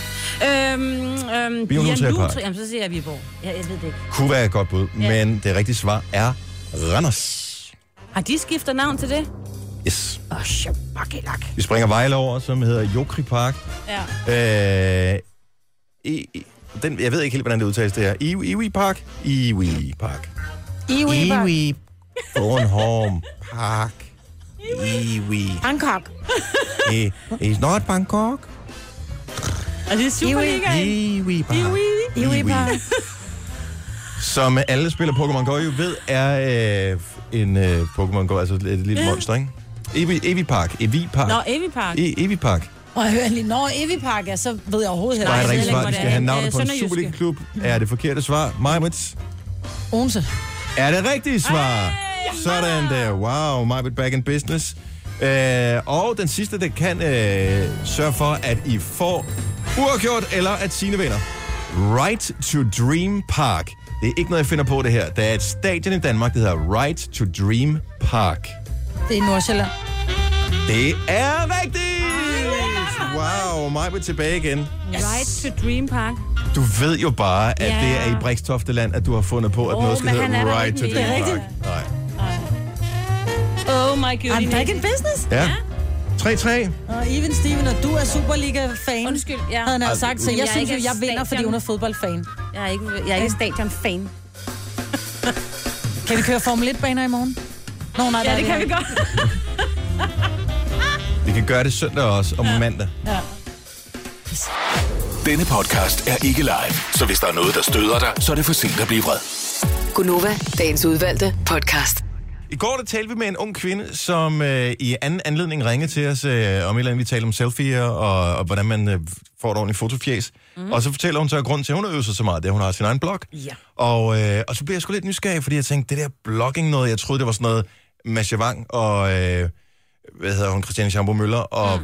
[SPEAKER 3] Øhm, øhm,
[SPEAKER 1] Virum
[SPEAKER 3] Jan
[SPEAKER 1] Hotel Park.
[SPEAKER 3] Lutri- Jamen, så siger jeg Viborg. Jeg, jeg ved det ikke.
[SPEAKER 1] Kunne være et godt bud,
[SPEAKER 3] Ja.
[SPEAKER 1] men det rigtige svar er Randers.
[SPEAKER 3] Har de skiftet navn til det?
[SPEAKER 1] Yes.
[SPEAKER 3] Åh, shabakkelak.
[SPEAKER 1] Vi springer Vejle over, som hedder Jokri Park.
[SPEAKER 3] Ja.
[SPEAKER 1] Øh, i, i- den, jeg ved ikke helt, hvordan det udtales, det her. Iwi, Iwi Park? Iwi Park.
[SPEAKER 2] Iwi. Iwi.
[SPEAKER 1] Bornholm Park. Iwi.
[SPEAKER 2] Bangkok.
[SPEAKER 1] I- It's not Bangkok.
[SPEAKER 3] Og det er Superligaen.
[SPEAKER 1] Iwi Park. Iwi Park. Som alle spiller Pokémon Go jo ved, er øh, en øh, Pokémon Go, altså et lille monster, ikke? Evi, Evi Park. Evi Park.
[SPEAKER 3] Nå, Evi Park.
[SPEAKER 1] E- Evi Park.
[SPEAKER 2] Og jeg hører lige, når Evi Park er, så ved jeg overhovedet heller
[SPEAKER 1] Nej, det
[SPEAKER 3] jeg
[SPEAKER 1] er ikke
[SPEAKER 3] ved ikke,
[SPEAKER 1] svar.
[SPEAKER 3] hvor
[SPEAKER 1] Vi
[SPEAKER 3] det
[SPEAKER 1] skal
[SPEAKER 3] er.
[SPEAKER 1] have
[SPEAKER 3] Øh,
[SPEAKER 1] navnet på en
[SPEAKER 3] Sønderjyske.
[SPEAKER 1] Superliga-klub. Er det forkerte svar? Majbrits.
[SPEAKER 2] Onse.
[SPEAKER 1] Er det rigtige svar? Sådan der. Wow, Majbrit back in business. Øh, og den sidste, der kan øh, sørge for, at I får uafgjort eller at sine vinder. Right to Dream Park. Det er ikke noget, jeg finder på det her. Der er et stadion i Danmark, der hedder Right to Dream Park.
[SPEAKER 2] Det er Nordsjælland.
[SPEAKER 1] Det er rigtigt! Wow, Majbrit tilbage igen.
[SPEAKER 3] Yes. Right to Dream Park.
[SPEAKER 1] Du ved jo bare, at
[SPEAKER 3] Ja.
[SPEAKER 1] det er i Brikstofteland, at du har fundet på, at
[SPEAKER 3] Åh,
[SPEAKER 1] noget skal
[SPEAKER 3] men han er
[SPEAKER 1] hedde
[SPEAKER 3] der
[SPEAKER 1] Right
[SPEAKER 3] ikke
[SPEAKER 1] to
[SPEAKER 3] mere.
[SPEAKER 1] Dream
[SPEAKER 3] Det er
[SPEAKER 1] Park. Nej.
[SPEAKER 3] Oh my god.
[SPEAKER 2] I'm back in business.
[SPEAKER 1] Ja. 3-3.
[SPEAKER 2] Og Even Steven, og du er Superliga-fan.
[SPEAKER 3] Undskyld, ja.
[SPEAKER 2] Havde han altså
[SPEAKER 1] Altså,
[SPEAKER 2] sagt, så jeg,
[SPEAKER 3] jeg
[SPEAKER 2] jeg
[SPEAKER 3] er
[SPEAKER 2] synes jo,
[SPEAKER 3] ikke
[SPEAKER 2] jeg vinder,
[SPEAKER 3] stadion.
[SPEAKER 2] fordi hun er fodboldfan.
[SPEAKER 3] Jeg er ikke, jeg er ikke stadion-fan.
[SPEAKER 2] Kan vi køre Formel 1-baner i morgen? Nå, nej, der
[SPEAKER 3] Ja,
[SPEAKER 2] er
[SPEAKER 3] det kan vi godt.
[SPEAKER 1] Vi kan gøre det søndag også, og mandag.
[SPEAKER 5] Denne podcast er ikke live, så hvis der er noget, der støder dig, så er det for sent at blive vred.
[SPEAKER 4] Gunova, dagens udvalgte podcast.
[SPEAKER 1] I går der talte vi med en ung kvinde, som øh, i anden anledning ringede til os øh, om et eller andet. Vi talte om selfies og, og hvordan man øh, får et ordentligt fotofjæs. Mm. Og så fortæller hun så, at grunden til, at hun har øvet sig så meget, det er, at hun har sin egen blog.
[SPEAKER 3] Ja.
[SPEAKER 1] Og, øh, og så blev jeg sgu lidt nysgerrig, fordi jeg tænkte, det der blogging noget, jeg troede, det var sådan noget Masha Wang og, øh, hvad hedder hun, Christiane Schambo Møller og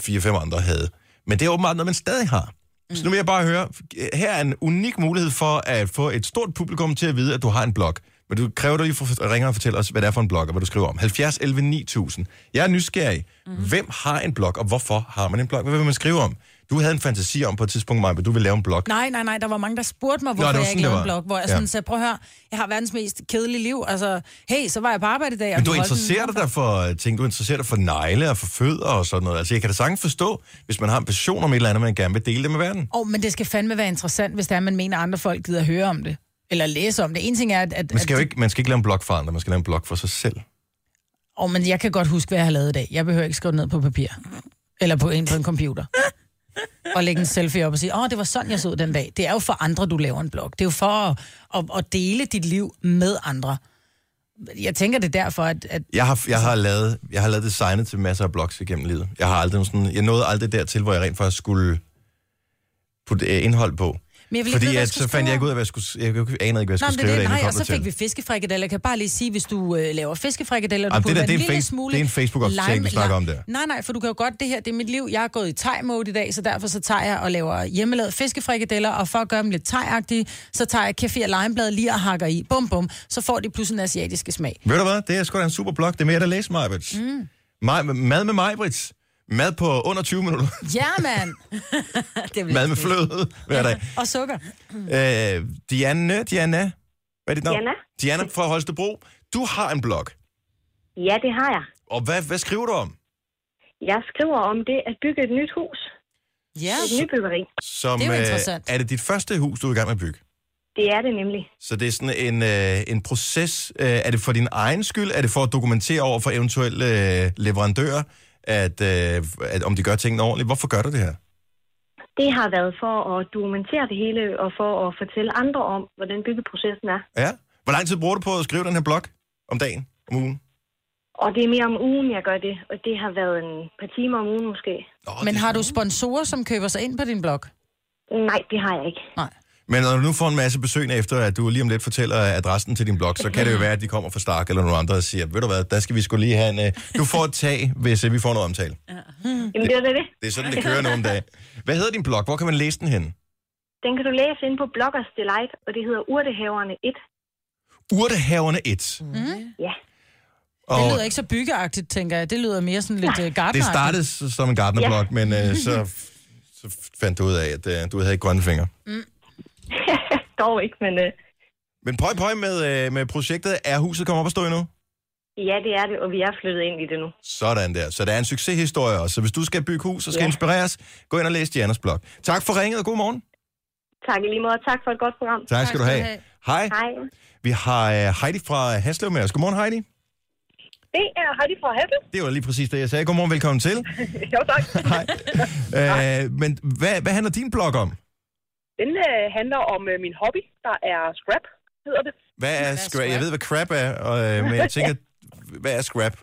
[SPEAKER 1] fire-fem andre havde. Men det er åbenbart noget, man stadig har.
[SPEAKER 2] Mm.
[SPEAKER 1] Så nu vil jeg bare høre, her er en unik mulighed for at få et stort publikum til at vide, at du har en blog. Men du kræver dig lige for at ringe og fortælle os, hvad det er for en blog, og hvad du skriver om. 70 11 9000. Jeg er nysgerrig. Mm.
[SPEAKER 2] Mhm.
[SPEAKER 1] Hvem har en blog, og hvorfor har man en blog? Hvad vil man skrive om? Du havde en fantasi om på et tidspunkt, Maja, at du ville lave en blog.
[SPEAKER 2] Nej, nej, nej, der var mange, der spurgte mig,
[SPEAKER 1] det
[SPEAKER 2] hvorfor
[SPEAKER 1] var
[SPEAKER 2] jeg
[SPEAKER 1] sådan, det
[SPEAKER 2] ikke lavede en
[SPEAKER 1] var.
[SPEAKER 2] blog, hvor jeg
[SPEAKER 1] Ja.
[SPEAKER 2] sådan sagde, prøv at høre, jeg har verdens mest kedelige liv, altså, hey, så var jeg på arbejde i dag. og
[SPEAKER 1] Men
[SPEAKER 2] vi
[SPEAKER 1] du
[SPEAKER 2] holdt en-
[SPEAKER 1] interesserer dig da for øh, ting, du interesserer dig for negle og for fødder og sådan noget. Altså, jeg kan da sagtens forstå, hvis man har en passion om et eller andet, man gerne vil dele det med verden.
[SPEAKER 2] Åh, oh, men det skal fandme være interessant, hvis det er, man mener, at andre folk gider høre om det. Eller læse om det. En ting er, at... at
[SPEAKER 1] Man skal jo
[SPEAKER 2] at-
[SPEAKER 1] ikke, man skal ikke lave en blog for andre, man skal lave en blog for sig selv.
[SPEAKER 2] Åh, oh, men jeg kan godt huske, hvad jeg har lavet i dag. Jeg behøver ikke skrive det ned på papir. Eller på en på en computer. og lægge en selfie op og sige, åh, det var sådan, jeg så ud den dag. Det er jo for andre, du laver en blog. Det er jo for at, at, at dele dit liv med andre. Jeg tænker det er derfor, at, at
[SPEAKER 1] Jeg har, jeg har, lavet, jeg har lavet designet til masser af blogs igennem livet. Jeg, har aldrig nogen sådan, jeg nåede aldrig dertil, hvor jeg rent faktisk skulle putte øh, indhold på.
[SPEAKER 2] Men jeg ville ikke
[SPEAKER 1] Fordi
[SPEAKER 2] vide, hvad jeg
[SPEAKER 1] at, så
[SPEAKER 2] skulle
[SPEAKER 1] fandt
[SPEAKER 2] skrive
[SPEAKER 1] jeg ikke
[SPEAKER 2] om.
[SPEAKER 1] ud af, hvad jeg skulle, jeg, jeg anede ikke, hvad jeg skulle
[SPEAKER 2] Nå, men det
[SPEAKER 1] skrive
[SPEAKER 2] er det.
[SPEAKER 1] derinde,
[SPEAKER 2] Nej,
[SPEAKER 1] jeg
[SPEAKER 2] og
[SPEAKER 1] kom
[SPEAKER 2] så fik vi
[SPEAKER 1] dertil.
[SPEAKER 2] fiskefrikadeller. Jeg kan bare lige sige, hvis du øh, laver fiskefrikadeller, du
[SPEAKER 1] Jamen, det
[SPEAKER 2] putter
[SPEAKER 1] der, det er
[SPEAKER 2] en
[SPEAKER 1] en
[SPEAKER 2] lille
[SPEAKER 1] face-
[SPEAKER 2] smule...
[SPEAKER 1] det er en Facebook-opdatering, vi
[SPEAKER 2] lime-
[SPEAKER 1] snakker
[SPEAKER 2] lime-
[SPEAKER 1] om der.
[SPEAKER 2] Nej, nej, for du kan jo godt... Det her, det er mit liv. Jeg er gået i thai-mode i dag, så derfor så tager jeg og laver hjemmelavede fiskefrikadeller, og for at gøre dem lidt thai så tager jeg kefir og limeblad lige og hakker i. Bum, bum. Så får de pludselig en asiatiske smag.
[SPEAKER 1] Ved du hvad? Det er sgu da en super blog. Det er mere, der læser mig, mm. Mad med mig, Brits. Mad på under 20 minutter.
[SPEAKER 2] Ja, mand!
[SPEAKER 3] Det vil
[SPEAKER 1] Mad med fløde hver dag.
[SPEAKER 2] Og sukker.
[SPEAKER 1] Øh, Diana, Diana. Hvad er dit navn?
[SPEAKER 6] Diana.
[SPEAKER 1] Diana fra Holstebro. Du har en blog.
[SPEAKER 6] Ja, det har jeg.
[SPEAKER 1] Og hvad, hvad skriver du om?
[SPEAKER 6] Jeg skriver om det at bygge et nyt hus.
[SPEAKER 2] Ja.
[SPEAKER 6] Et nybyggeri.
[SPEAKER 1] Som,
[SPEAKER 2] Det er jo
[SPEAKER 1] øh,
[SPEAKER 2] interessant.
[SPEAKER 1] er det dit første hus, du er i gang med at bygge?
[SPEAKER 6] Det er det nemlig.
[SPEAKER 1] Så det er sådan en, øh, en proces. Øh, er det for din egen skyld? Er det for at dokumentere over for eventuelle øh, leverandører, at, øh, at, om de gør tingene ordentligt? Hvorfor gør du det her?
[SPEAKER 6] Det har været for at dokumentere det hele, og for at fortælle andre om, hvordan byggeprocessen er.
[SPEAKER 1] Ja. Hvor lang tid bruger du på at skrive den her blog? Om dagen? Om ugen?
[SPEAKER 6] Og det er mere om ugen, jeg gør det, og det har været en par timer om ugen måske.
[SPEAKER 1] Nå,
[SPEAKER 2] Men
[SPEAKER 1] det er
[SPEAKER 2] har du sponsorer, som køber sig ind på din blog?
[SPEAKER 6] Nej, det har jeg ikke.
[SPEAKER 2] Nej.
[SPEAKER 1] Men når du nu får en masse besøg efter, at du lige om lidt fortæller adressen til din blog, så kan det jo være, at de kommer fra Stark eller nogen andre og siger, ved du hvad, der skal vi skulle lige have en... øh, Du får et tag, hvis øh, vi får noget omtale.
[SPEAKER 6] Jamen, det er det. det.
[SPEAKER 1] Det er sådan, det kører nogle dage. Hvad hedder din blog? Hvor kan man læse den hen?
[SPEAKER 6] Den kan du læse inde på Bloggers Delight, og det hedder Urtehaverne 1.
[SPEAKER 1] Urtehaverne 1.
[SPEAKER 6] Ja,
[SPEAKER 2] Det
[SPEAKER 1] Og
[SPEAKER 2] lyder ikke så byggeagtigt, tænker jeg. Det lyder mere sådan lidt øh,
[SPEAKER 1] det
[SPEAKER 2] gartneragtigt.
[SPEAKER 1] startede s- som en gartnerblog, men øh, så, så fandt du ud af, at øh, du havde ikke grønne fingre.
[SPEAKER 6] Dog ikke, men øh,
[SPEAKER 1] Men pøj pøj med, øh, med projektet. Er huset kommet op at stå endnu?
[SPEAKER 6] ja, det er det, og vi er flyttet ind i det nu.
[SPEAKER 1] Sådan der. Så der er en succeshistorie også. Så hvis du skal bygge hus og skal ja.
[SPEAKER 6] Ja.
[SPEAKER 1] inspireres, gå ind og læs Dianas blog. Tak for ringet, og god morgen.
[SPEAKER 6] Tak i lige måde, og tak for et godt program.
[SPEAKER 1] Tak, tak skal du have. Hej. Hej.
[SPEAKER 6] Hej.
[SPEAKER 1] Vi har øh, Heidi fra Haslev med os. Godmorgen, Heidi.
[SPEAKER 7] Det er Heidi fra Hassel.
[SPEAKER 1] Det var lige præcis det, jeg sagde. Godmorgen, velkommen til.
[SPEAKER 7] Jo, tak.
[SPEAKER 1] Hej. Øh, men hvad, hvad handler din blog om?
[SPEAKER 7] Den øh, handler om øh, min hobby, der er scrap, hedder det.
[SPEAKER 1] Hvad er scrap? Jeg ved, hvad crap er, og, øh, men jeg tænker, hvad er scrap?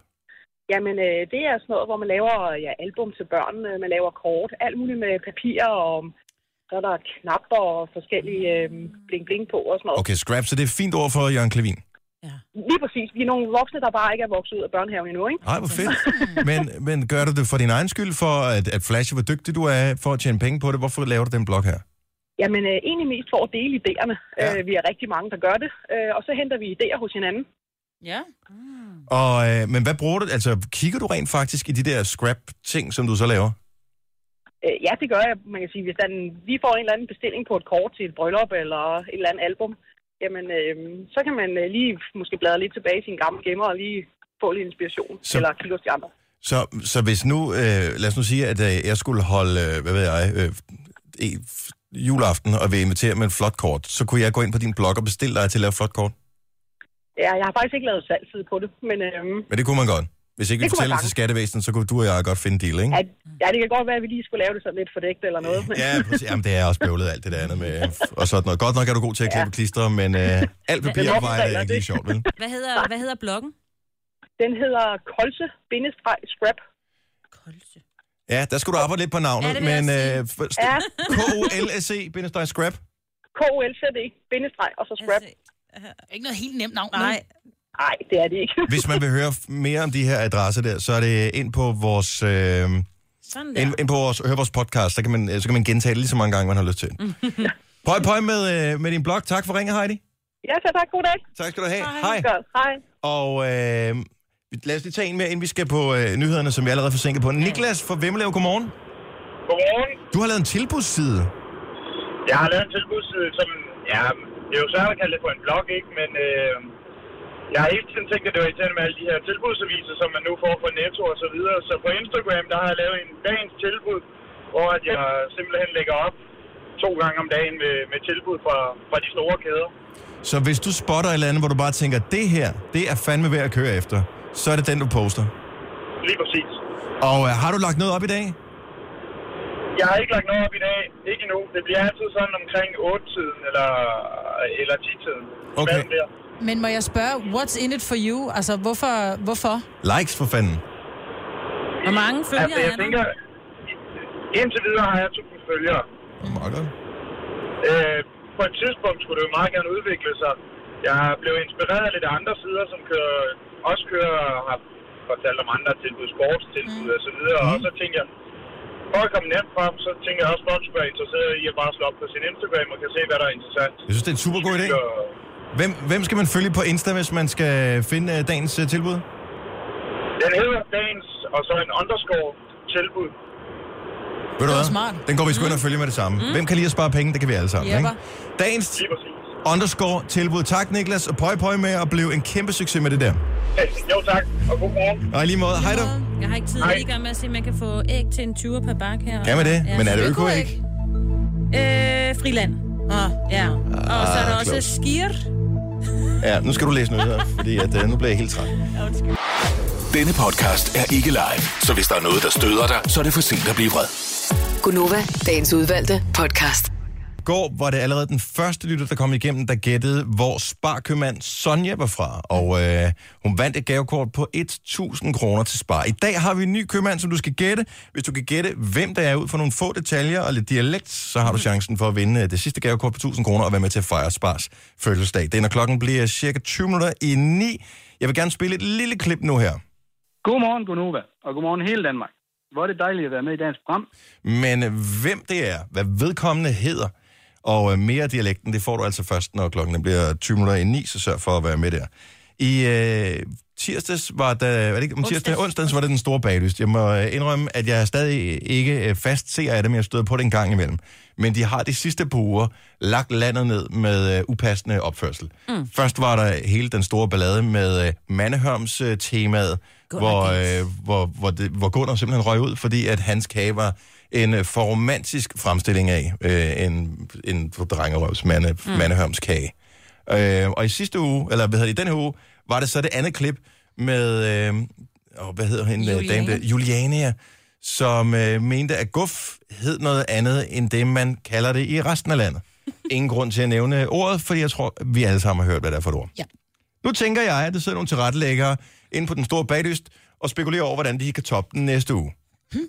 [SPEAKER 7] Jamen, øh, det er sådan noget, hvor man laver ja, album til børn, øh, man laver kort, alt muligt med papir, og så er der knapper og forskellige øh, bling-bling på og sådan noget.
[SPEAKER 1] Okay, scrap, så det er et fint ord for Jørgen Klevin.
[SPEAKER 7] Lige præcis. Vi er nogle voksne, der bare ikke er vokset ud af børnehaven endnu, ikke?
[SPEAKER 1] Ej, hvor fedt. Men, men gør du det for din egen skyld, for at, at flashe, hvor dygtig du er, for at tjene penge på det? Hvorfor laver du den blog her?
[SPEAKER 7] Jamen, øh, egentlig mest for at dele idéerne.
[SPEAKER 1] Ja.
[SPEAKER 7] Ja. Øh, vi er rigtig mange, der gør det. Øh, og så henter vi idéer hos hinanden.
[SPEAKER 3] Ja.
[SPEAKER 1] Og, øh, men hvad bruger du? Altså, kigger du rent faktisk i de der scrap-ting, som du så laver?
[SPEAKER 7] Øh, ja, det gør jeg. Man kan sige, hvis den, vi får en eller anden bestilling på et kort til et bryllup eller et eller andet album, jamen, øh, så kan man øh, lige måske bladre lidt tilbage i sine gamle gemmer og lige få lidt inspiration.
[SPEAKER 1] Så-
[SPEAKER 7] Så... Eller kigge hos de andre.
[SPEAKER 1] Så, så hvis nu, øh, lad os nu sige, at øh, jeg skulle holde, øh, hvad ved jeg, øh, e- f- juleaften og vil invitere med et flot kort, så kunne jeg gå ind på din blog og bestille dig til at lave et flot kort.
[SPEAKER 7] Ja, jeg har faktisk ikke lavet salgside på det, men øh,
[SPEAKER 1] Men det kunne man godt. Hvis ikke vi
[SPEAKER 7] Det kunne man
[SPEAKER 1] fortæller til
[SPEAKER 7] sagtens.
[SPEAKER 1] skattevæsenet, så kunne du og jeg godt finde en deal, ikke?
[SPEAKER 7] at, ja, det kan godt være, at vi lige skulle lave det sådan lidt fordækt eller noget. Men,
[SPEAKER 1] Ja, præcis. Jamen, det er også bøvlet alt det der andet med, øh, og sådan noget. Godt nok er du god til at klippe ja. klister, men øh, alt papirarbejde er ikke lige sjovt, vel?
[SPEAKER 3] Hvad hedder, hvad hedder bloggen?
[SPEAKER 7] Den hedder kolse-scrap.
[SPEAKER 3] Kolse.
[SPEAKER 1] Ja, der skulle du arbejde lidt på
[SPEAKER 3] Ja,
[SPEAKER 1] navnet,
[SPEAKER 3] det vil jeg
[SPEAKER 1] men øh, forst-
[SPEAKER 7] Ja.
[SPEAKER 1] K-O-L-S-E, E bindestreg scrap.
[SPEAKER 7] K-O-L-C-D, bindestræk, og så scrap.
[SPEAKER 2] Ikke noget helt nemt navn.
[SPEAKER 3] Altså,
[SPEAKER 2] Nej.
[SPEAKER 3] Nej.
[SPEAKER 7] Nej, det er det ikke.
[SPEAKER 1] Hvis man vil høre f- mere om de her adresser der, så er det ind på vores, øh, ind,
[SPEAKER 3] Sådan der.
[SPEAKER 1] ind på vores, hør vores podcast, så kan, man, øh, så kan man gentage det lige så mange gange, man har lyst til. Pøj, pøj med, øh, med din blog. Tak for ringet, Heidi.
[SPEAKER 7] ja, så tak. God dag.
[SPEAKER 1] Tak skal du have. Hej.
[SPEAKER 7] Godt. Hej.
[SPEAKER 1] Og øh, lad os lige tage en mere, inden vi skal på øh, nyhederne, som vi er allerede forsinket på. Niklas fra Vemmelev, godmorgen.
[SPEAKER 8] Godmorgen.
[SPEAKER 1] Du har lavet en tilbudsside.
[SPEAKER 8] Jeg har lavet en tilbudsside, som... Ja, det er jo svært at kalde det for en blog, ikke? Men øh, jeg har hele tiden tænkt, at det var irriterende med alle de her tilbudsaviser, som man nu får fra Netto og så videre. Så på Instagram, der har jeg lavet en dagens tilbud, hvor at jeg simpelthen lægger op to gange om dagen med, med tilbud fra, fra de store kæder.
[SPEAKER 1] Så hvis du spotter et eller andet, hvor du bare tænker, det her, det er fandme værd at køre efter, så er det den, du poster.
[SPEAKER 8] Lige præcis.
[SPEAKER 1] Og øh, har du lagt noget op i dag?
[SPEAKER 8] Jeg har ikke lagt noget op i dag. Ikke endnu. Det bliver altid sådan omkring 8-tiden eller, eller 10-tiden.
[SPEAKER 1] Okay.
[SPEAKER 8] Mellem der.
[SPEAKER 2] Men må jeg spørge, what's in it for you? Altså, hvorfor? hvorfor?
[SPEAKER 1] Likes for fanden.
[SPEAKER 3] Hvor mange
[SPEAKER 8] Altså,
[SPEAKER 3] følgere
[SPEAKER 8] jeg
[SPEAKER 3] er
[SPEAKER 8] tænker...
[SPEAKER 3] der?
[SPEAKER 8] Indtil videre har jeg 1000 følgere.
[SPEAKER 1] Og meget
[SPEAKER 8] Øh, på et tidspunkt skulle det jo meget gerne udvikle sig. Jeg blev inspireret af lidt andre sider, som kører, også kører og har fortalt om andre tilbud, sportstilbud mm. og så videre. Mm. Og så tænkte jeg, for at komme nemt frem, så tænker jeg også, at folk skulle være interesseret i at bare slå op på sin Instagram og kan se, hvad der er interessant.
[SPEAKER 1] Jeg synes, det er en super god idé.
[SPEAKER 8] Og
[SPEAKER 1] Hvem, hvem skal man følge på Insta, hvis man skal finde øh, dagens øh, tilbud?
[SPEAKER 8] Den hedder dagens, og så en underscore tilbud.
[SPEAKER 1] Ved du
[SPEAKER 2] var
[SPEAKER 1] hvad?
[SPEAKER 2] smart.
[SPEAKER 1] Den går vi sgu ind og følge med det samme. Hvem kan lide at spare penge? Det kan vi alle sammen.
[SPEAKER 2] Jepper.
[SPEAKER 1] Ikke? Dagens
[SPEAKER 8] Lige præcis.
[SPEAKER 1] underscore tilbud. Tak, Niklas. Og pøj, pøj med at blive en kæmpe succes med det der.
[SPEAKER 8] Hey, jo tak, og god morgen.
[SPEAKER 1] Og i lige måde, hej da.
[SPEAKER 3] Jeg har ikke tid
[SPEAKER 8] Hej.
[SPEAKER 3] lige gang med at se, at man kan få æg til en 20 per bakke her.
[SPEAKER 1] Kan man det?
[SPEAKER 3] Ja.
[SPEAKER 1] Men er det
[SPEAKER 2] Økoæg.
[SPEAKER 1] økoæg?
[SPEAKER 3] Øh, friland.
[SPEAKER 2] Ah.
[SPEAKER 3] Ja. Og så er der også
[SPEAKER 1] close.
[SPEAKER 3] skir.
[SPEAKER 1] Ja, nu skal du læse noget her, fordi at, øh, nu bliver jeg helt træt.
[SPEAKER 5] Denne podcast er ikke live, så hvis der er noget, der støder dig, så er det for sent at blive vred.
[SPEAKER 4] Gunova, dagens udvalgte podcast.
[SPEAKER 1] går var det allerede den første lytter, der kom igennem, der gættede, hvor sparkøbmand Sonja var fra. Og øh, hun vandt et gavekort på 1.000 kroner til Spar. I dag har vi en ny købmand, som du skal gætte. Hvis du kan gætte, hvem der er ud for nogle få detaljer og lidt dialekt, så har du chancen for at vinde øh, det sidste gavekort på 1.000 kroner og være med til at fejre Spars fødselsdag. Det er, når klokken bliver cirka 20 minutter i 9. Jeg vil gerne spille et lille klip nu her.
[SPEAKER 9] Godmorgen, Gunova, og godmorgen hele Danmark. Hvor er det dejligt at være med i dagens program.
[SPEAKER 1] Men øh, hvem det er, hvad vedkommende hedder, og øh, mere af dialekten, det får du altså først, når klokken bliver 20 minutter i 9, så sørg for at være med der. I øh, tirsdags var der, var det ikke, om tirsdag,
[SPEAKER 3] Onsdags.
[SPEAKER 1] onsdags var det den store baglyst. Jeg må øh, indrømme, at jeg stadig ikke øh, fast ser af dem, jeg støder på det en gang imellem. Men de har de sidste par uger lagt landet ned med øh, upassende opførsel. Mm. Først var der hele den store ballade med øh, mandehørms øh, temaet,
[SPEAKER 3] Gunnar
[SPEAKER 1] hvor,
[SPEAKER 3] Gates.
[SPEAKER 1] øh, hvor, hvor, det, hvor Gunnar simpelthen røg ud, fordi at hans kage var en øh, for romantisk fremstilling af øh, en, en drengerøvs mande, mm. mandehørmskage. Øh, og i sidste uge, eller hvad hedder det, i denne her uge, var det så det andet klip med, øh, åh, hvad hedder hende, øh, dame der?
[SPEAKER 3] Juliane.
[SPEAKER 1] Juliania, som øh, mente, at guf hed noget andet, end det, man kalder det i resten af landet. Ingen grund til at nævne ordet, fordi jeg tror, vi alle sammen har hørt, hvad det er for et ord.
[SPEAKER 3] Ja.
[SPEAKER 1] Nu tænker jeg, at der sidder nogle tilrettelæggere inde på den store baglyst og spekulerer over, hvordan de kan toppe den næste uge.
[SPEAKER 3] Vi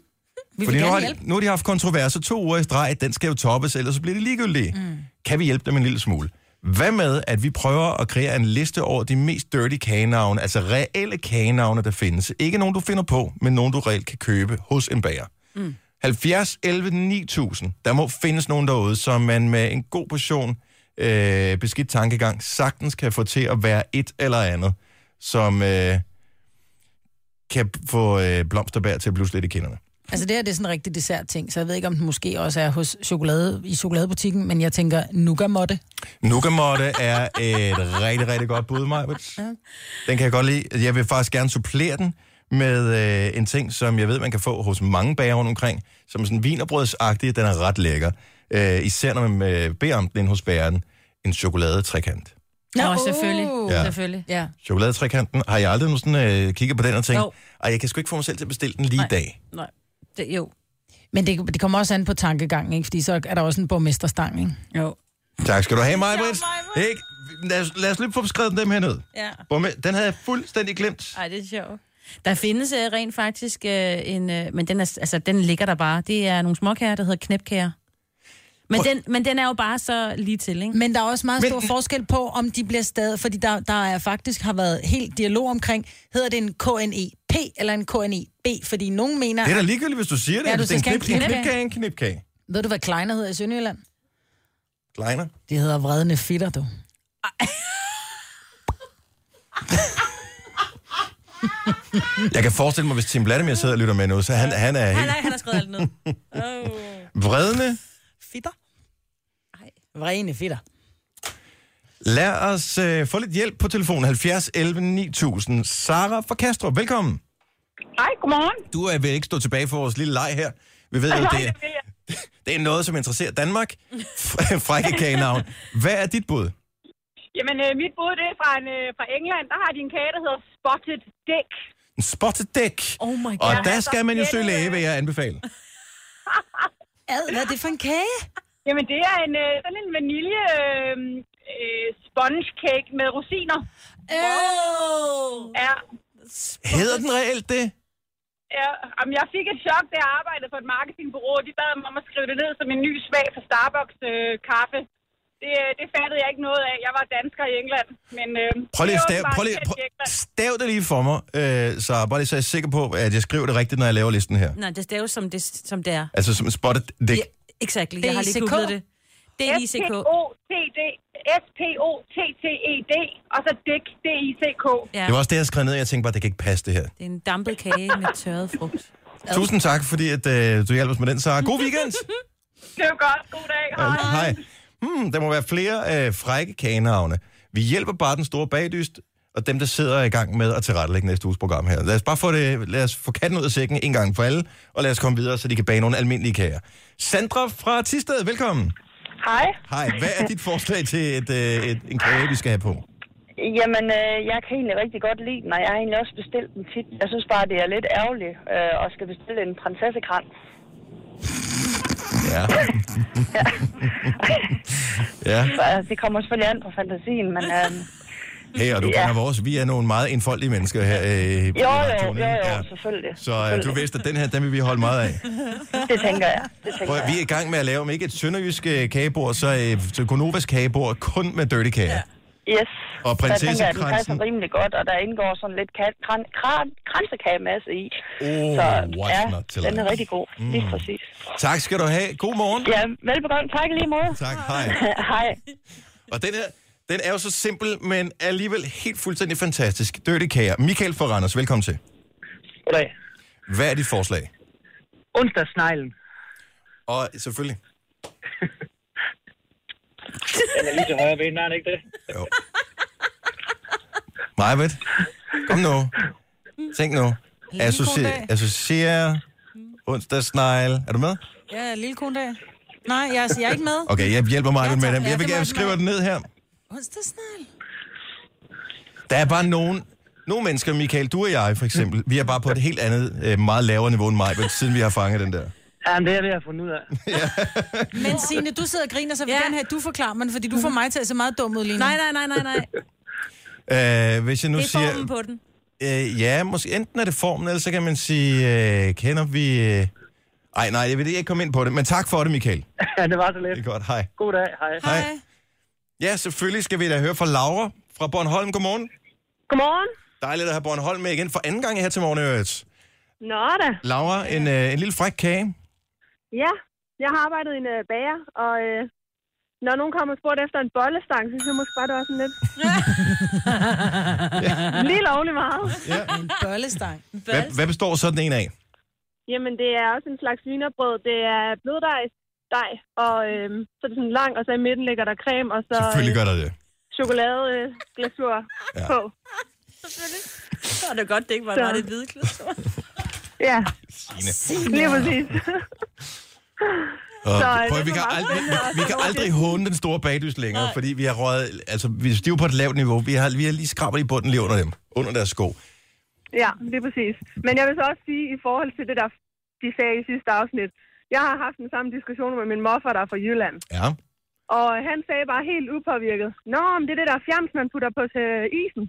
[SPEAKER 1] Fordi nu
[SPEAKER 3] vil gerne
[SPEAKER 1] har, de,
[SPEAKER 3] hjælpe.
[SPEAKER 1] nu har de haft kontroverser to uger i streg, den skal jo toppes, ellers så bliver det ligegyldigt. Mm. Kan vi hjælpe dem en lille smule? Hvad med, at vi prøver at kreere en liste over de mest dirty kagenavne, altså reelle kagenavne, der findes. Ikke nogen, du finder på, men nogen, du reelt kan købe hos en bager. Mm. 70, 11, 9000. Der må findes nogen derude, som man med en god portion øh, beskidt tankegang sagtens kan få til at være et eller andet, som øh, kan få øh, blomsterbær til at blusse lidt i kinderne.
[SPEAKER 2] Altså det her, det er sådan en rigtig dessert-ting, så jeg ved ikke, om den måske også er hos chokolade, i chokoladebutikken, men jeg tænker, nougamotte.
[SPEAKER 1] Nukamotte er et rigtig, rigtig godt bud, Majbert. Den kan jeg godt lide. Jeg vil faktisk gerne supplere den med øh, en ting, som jeg ved, man kan få hos mange bager rundt omkring, som er sådan vinerbrødsagtig, den er ret lækker. Øh, især når man øh, beder om den inde hos bæren. En chokoladetrekant.
[SPEAKER 3] Nå, uh. selvfølgelig.
[SPEAKER 1] Ja.
[SPEAKER 3] selvfølgelig.
[SPEAKER 2] Ja.
[SPEAKER 1] Chokoladetrekanten, har jeg aldrig sådan, øh, kigget på den og tænkt,
[SPEAKER 3] Jo.
[SPEAKER 1] ej, jeg kan sgu ikke få mig selv til at bestille den lige i dag.
[SPEAKER 3] Nej. Det, jo.
[SPEAKER 2] Men det, det kommer også an på tankegangen, ikke? Fordi så er der også en borgmesterstang, ikke?
[SPEAKER 3] Jo.
[SPEAKER 1] Tak skal du have, Majbrit.
[SPEAKER 3] Maj-Brit.
[SPEAKER 1] Ikke? Lad os, lad os lige få beskrevet dem her ned.
[SPEAKER 3] Ja.
[SPEAKER 1] Borgme- Den havde jeg fuldstændig glemt.
[SPEAKER 3] Ej, det er sjovt. Der findes uh, rent faktisk uh, en... Uh, men den, er, altså, den ligger der bare. Det er nogle småkager, der hedder knæpkager. Men den, men den er jo bare så lige til, ikke?
[SPEAKER 2] Men der er også meget stor forskel på, om de bliver stadig, fordi der, der er faktisk har været helt dialog omkring, hedder det en KNEP eller en KNEB? Fordi nogen mener,
[SPEAKER 1] Det er da ligegyldigt, hvis du siger det.
[SPEAKER 2] Ja,
[SPEAKER 1] Ja, du
[SPEAKER 2] du
[SPEAKER 1] det er en
[SPEAKER 2] skal
[SPEAKER 1] knip,
[SPEAKER 2] have en
[SPEAKER 1] en knipkage, er en knipkage.
[SPEAKER 2] ved du hvad Kleiner hedder i Sønderjylland?
[SPEAKER 1] Kleiner.
[SPEAKER 2] Det hedder vredende fitter, du.
[SPEAKER 1] Jeg kan forestille mig, hvis Tim Vladimir sidder og lytter med nu, så han, han er
[SPEAKER 3] Nej,
[SPEAKER 1] helt
[SPEAKER 3] nej, han har skrevet alt ned. Oh.
[SPEAKER 1] vredende.
[SPEAKER 2] Fitter? Vredende fitter.
[SPEAKER 1] Lad os øh, få lidt hjælp på telefon 70 11 9000. Sara fra Kastrup, velkommen.
[SPEAKER 7] Hej, godmorgen.
[SPEAKER 1] Du er vil ikke stå tilbage for vores lille leg her. Vi ved jo, det er, det er noget, som interesserer Danmark. Fr- Frække kagenavn. Hvad er dit bud?
[SPEAKER 7] Jamen, øh, mit bud det er fra, en, øh, fra England. Der har de en kage, der hedder Spotted Dick.
[SPEAKER 1] En spotted dæk.
[SPEAKER 3] Oh my
[SPEAKER 1] Og
[SPEAKER 3] god.
[SPEAKER 1] der skal man jo søge læge, vil jeg anbefale.
[SPEAKER 2] Ad, hvad er det for en kage?
[SPEAKER 7] Jamen, det er en, øh, sådan en vanilje øh, øh, sponge cake med rosiner.
[SPEAKER 3] Oh.
[SPEAKER 7] Ja,
[SPEAKER 1] Hedder den reelt det?
[SPEAKER 7] ja. Jamen, jeg fik et chok, da jeg arbejdede for et marketingbureau. De bad mig om at skrive det ned som en ny smag for Starbucks-kaffe. det, øh, det fattede jeg ikke noget af. Jeg var dansker i England. Men, øh,
[SPEAKER 1] Prøv lige at
[SPEAKER 7] det er
[SPEAKER 1] stav,
[SPEAKER 7] åbenbart
[SPEAKER 1] prøv lige,
[SPEAKER 7] kendt i
[SPEAKER 1] prøv,
[SPEAKER 7] England.
[SPEAKER 1] stav det lige for mig, øh, så bare lige så jeg er sikker på, at jeg skriver det rigtigt, når jeg laver listen her.
[SPEAKER 3] Nej, det staves som det, som det er.
[SPEAKER 1] Altså som spottet dick.
[SPEAKER 3] Ja, exakt. Jeg har lige
[SPEAKER 2] DICK.
[SPEAKER 3] googlet det. Det er ICK.
[SPEAKER 1] E
[SPEAKER 7] S-P-O-T-D. S-P-O-T-T-E-D. E Og så DICK. D-I-C-K.
[SPEAKER 3] Ja,
[SPEAKER 1] Det var også det, jeg skrev ned, og jeg tænkte bare, det kan ikke passe det her.
[SPEAKER 3] det er en dampet kage med tørret frugt.
[SPEAKER 1] Tusind tak, fordi at, øh, du hjælper os med den, Sara. God weekend!
[SPEAKER 7] Det er jo godt. God dag.
[SPEAKER 1] Øh,
[SPEAKER 7] Hej.
[SPEAKER 1] Hej. Hmm, der må være flere øh, frække kagenavne. Vi hjælper bare den store bagdyst, og dem, der sidder i gang med at tilrettelægge næste uges program her. Lad os bare få, det, lad os få katten ud af sækken en gang for alle, og lad os komme videre, så de kan bage nogle almindelige kager. Sandra fra Tisted, velkommen.
[SPEAKER 7] Hej.
[SPEAKER 1] Hej, hvad er dit forslag til et, øh, et, en kage, vi skal have på?
[SPEAKER 6] Jamen, øh, jeg kan egentlig rigtig godt lide den, og jeg har egentlig også bestilt den tit. Jeg synes bare, det er lidt ærgerligt øh, at skal bestille en prinsessekrans.
[SPEAKER 1] Ja. ja.
[SPEAKER 6] Så, øh, det kommer selvfølgelig an på fantasien, men øh,
[SPEAKER 1] Hey, og du
[SPEAKER 6] Ja.
[SPEAKER 1] kender vores. Vi er nogle meget indfoldige mennesker her. Øh, i
[SPEAKER 6] jo, jo,
[SPEAKER 1] radioen,
[SPEAKER 6] jo,
[SPEAKER 1] ikke?
[SPEAKER 6] jo,
[SPEAKER 1] Ja.
[SPEAKER 6] selvfølgelig.
[SPEAKER 1] Så øh, du
[SPEAKER 6] Selvfølgelig.
[SPEAKER 1] vidste, at den her, den vil vi holde meget af.
[SPEAKER 6] Det tænker jeg. Det tænker
[SPEAKER 1] Prøv, at-
[SPEAKER 6] jeg.
[SPEAKER 1] vi er i gang med at lave, om ikke et sønderjysk øh, kagebord, så øh, så Gonovas kagebord, kun med dirty kager. Ja. Og
[SPEAKER 6] Yes. Så jeg tænker, at den
[SPEAKER 1] prinsessekransen.
[SPEAKER 6] passer rimelig godt, og der indgår sådan lidt ka- kran- kran- kransekagemesse i.
[SPEAKER 1] Oh,
[SPEAKER 6] så
[SPEAKER 1] what's
[SPEAKER 6] ja,
[SPEAKER 1] not to
[SPEAKER 6] den er
[SPEAKER 1] like.
[SPEAKER 6] rigtig god. Mm. Lige præcis.
[SPEAKER 1] Tak skal du have. God morgen.
[SPEAKER 6] Ja, velbekomme. Tak i lige måde.
[SPEAKER 1] Tak, hej.
[SPEAKER 6] Hej.
[SPEAKER 1] Og den her, Den er jo så simpel, men alligevel helt fuldstændig fantastisk. Dirty kager. Michael fra Randers, velkommen til.
[SPEAKER 8] Goddag.
[SPEAKER 1] Hvad er dit forslag?
[SPEAKER 8] Onsdagsneglen.
[SPEAKER 1] Og selvfølgelig.
[SPEAKER 8] Den er lige til højre ben, er den ikke det?
[SPEAKER 1] Jo. Majbet, kom nu. Tænk nu. Associer,
[SPEAKER 2] dag.
[SPEAKER 1] associer onsdagsnegle. Er du med?
[SPEAKER 2] Ja, lille konedag. Nej, jeg, altså, jeg er ikke med.
[SPEAKER 1] Okay, jeg hjælper mig
[SPEAKER 2] Ja,
[SPEAKER 1] med
[SPEAKER 2] tak.
[SPEAKER 1] dem.
[SPEAKER 2] Ja,
[SPEAKER 1] Jeg vil
[SPEAKER 2] det må
[SPEAKER 1] gerne
[SPEAKER 2] jeg
[SPEAKER 1] skrive
[SPEAKER 2] med.
[SPEAKER 1] den ned her.
[SPEAKER 2] Onsdagsnegl.
[SPEAKER 1] Der er bare nogen, nogle mennesker, Michael, du og jeg for eksempel, vi er bare på et helt andet, øh, meget lavere niveau end mig, men siden vi har fanget den der.
[SPEAKER 8] Jamen, det er det, jeg har fundet ud af.
[SPEAKER 2] Men Signe, du sidder og griner, så jeg vil
[SPEAKER 3] Ja.
[SPEAKER 2] gerne have, at du forklarer mig, den, fordi du får mig til at se meget dum ud lige nu.
[SPEAKER 3] Nej, nej, nej, nej, nej.
[SPEAKER 1] Øh, hvis jeg nu
[SPEAKER 3] Det er
[SPEAKER 1] siger,
[SPEAKER 3] formen på den.
[SPEAKER 1] øh, ja, måske enten er det formen, eller så kan man sige, øh, kender vi... Øh... Ej, nej, jeg vil ikke komme ind på det, men tak for det, Michael.
[SPEAKER 8] ja, det var så
[SPEAKER 1] Det er
[SPEAKER 8] lidt.
[SPEAKER 1] godt, hej.
[SPEAKER 8] God dag, hej.
[SPEAKER 1] Hej. Ja, selvfølgelig skal vi da høre fra Laura fra Bornholm. Godmorgen.
[SPEAKER 7] Godmorgen.
[SPEAKER 1] Dejligt at have Bornholm med igen for anden gang her til morgen. i øvrigt.
[SPEAKER 7] Nå da.
[SPEAKER 1] Laura, en, øh, en lille fræk kage.
[SPEAKER 7] Ja, jeg har arbejdet i en øh, bager, og øh, når nogen kommer og spurgt efter en bollestang, så synes jeg måske bare, det var sådan lidt... Lige lovlig meget.
[SPEAKER 1] Ja.
[SPEAKER 2] En bøllestang.
[SPEAKER 1] Hvad, hvad består sådan en af?
[SPEAKER 7] Jamen, det er også en slags vinerbrød. Det er bløddej, dej, og øh, så er det sådan lang, og så i midten ligger der creme, og så
[SPEAKER 1] Selvfølgelig
[SPEAKER 7] øh,
[SPEAKER 1] gør der det.
[SPEAKER 7] chokoladeglasur øh, glasur
[SPEAKER 1] Ja.
[SPEAKER 7] på.
[SPEAKER 3] Så er det godt, det ikke var
[SPEAKER 7] Så.
[SPEAKER 3] bare det hvide klus.
[SPEAKER 7] Ja,
[SPEAKER 1] Signe.
[SPEAKER 7] lige præcis.
[SPEAKER 1] Og,
[SPEAKER 7] Så, øh,
[SPEAKER 1] prøv, at-
[SPEAKER 7] det
[SPEAKER 1] vi,
[SPEAKER 7] var
[SPEAKER 1] kan
[SPEAKER 7] meget
[SPEAKER 1] aldrig,
[SPEAKER 7] spændende
[SPEAKER 1] vi, vi kan aldrig håne den store bagdys længere, fordi vi har røget, altså vi er stive på et lavt niveau. Vi har, vi har lige skrabet i bunden lige under dem, under deres sko.
[SPEAKER 7] Ja, lige præcis. Men jeg vil så også sige, i forhold til det, der de sagde i sidste afsnit, jeg har haft den samme diskussion med min morfar, der er fra Jylland.
[SPEAKER 1] Ja.
[SPEAKER 7] Og han sagde bare helt upåvirket, Nå, men det er det der fjams, man putter på til isen.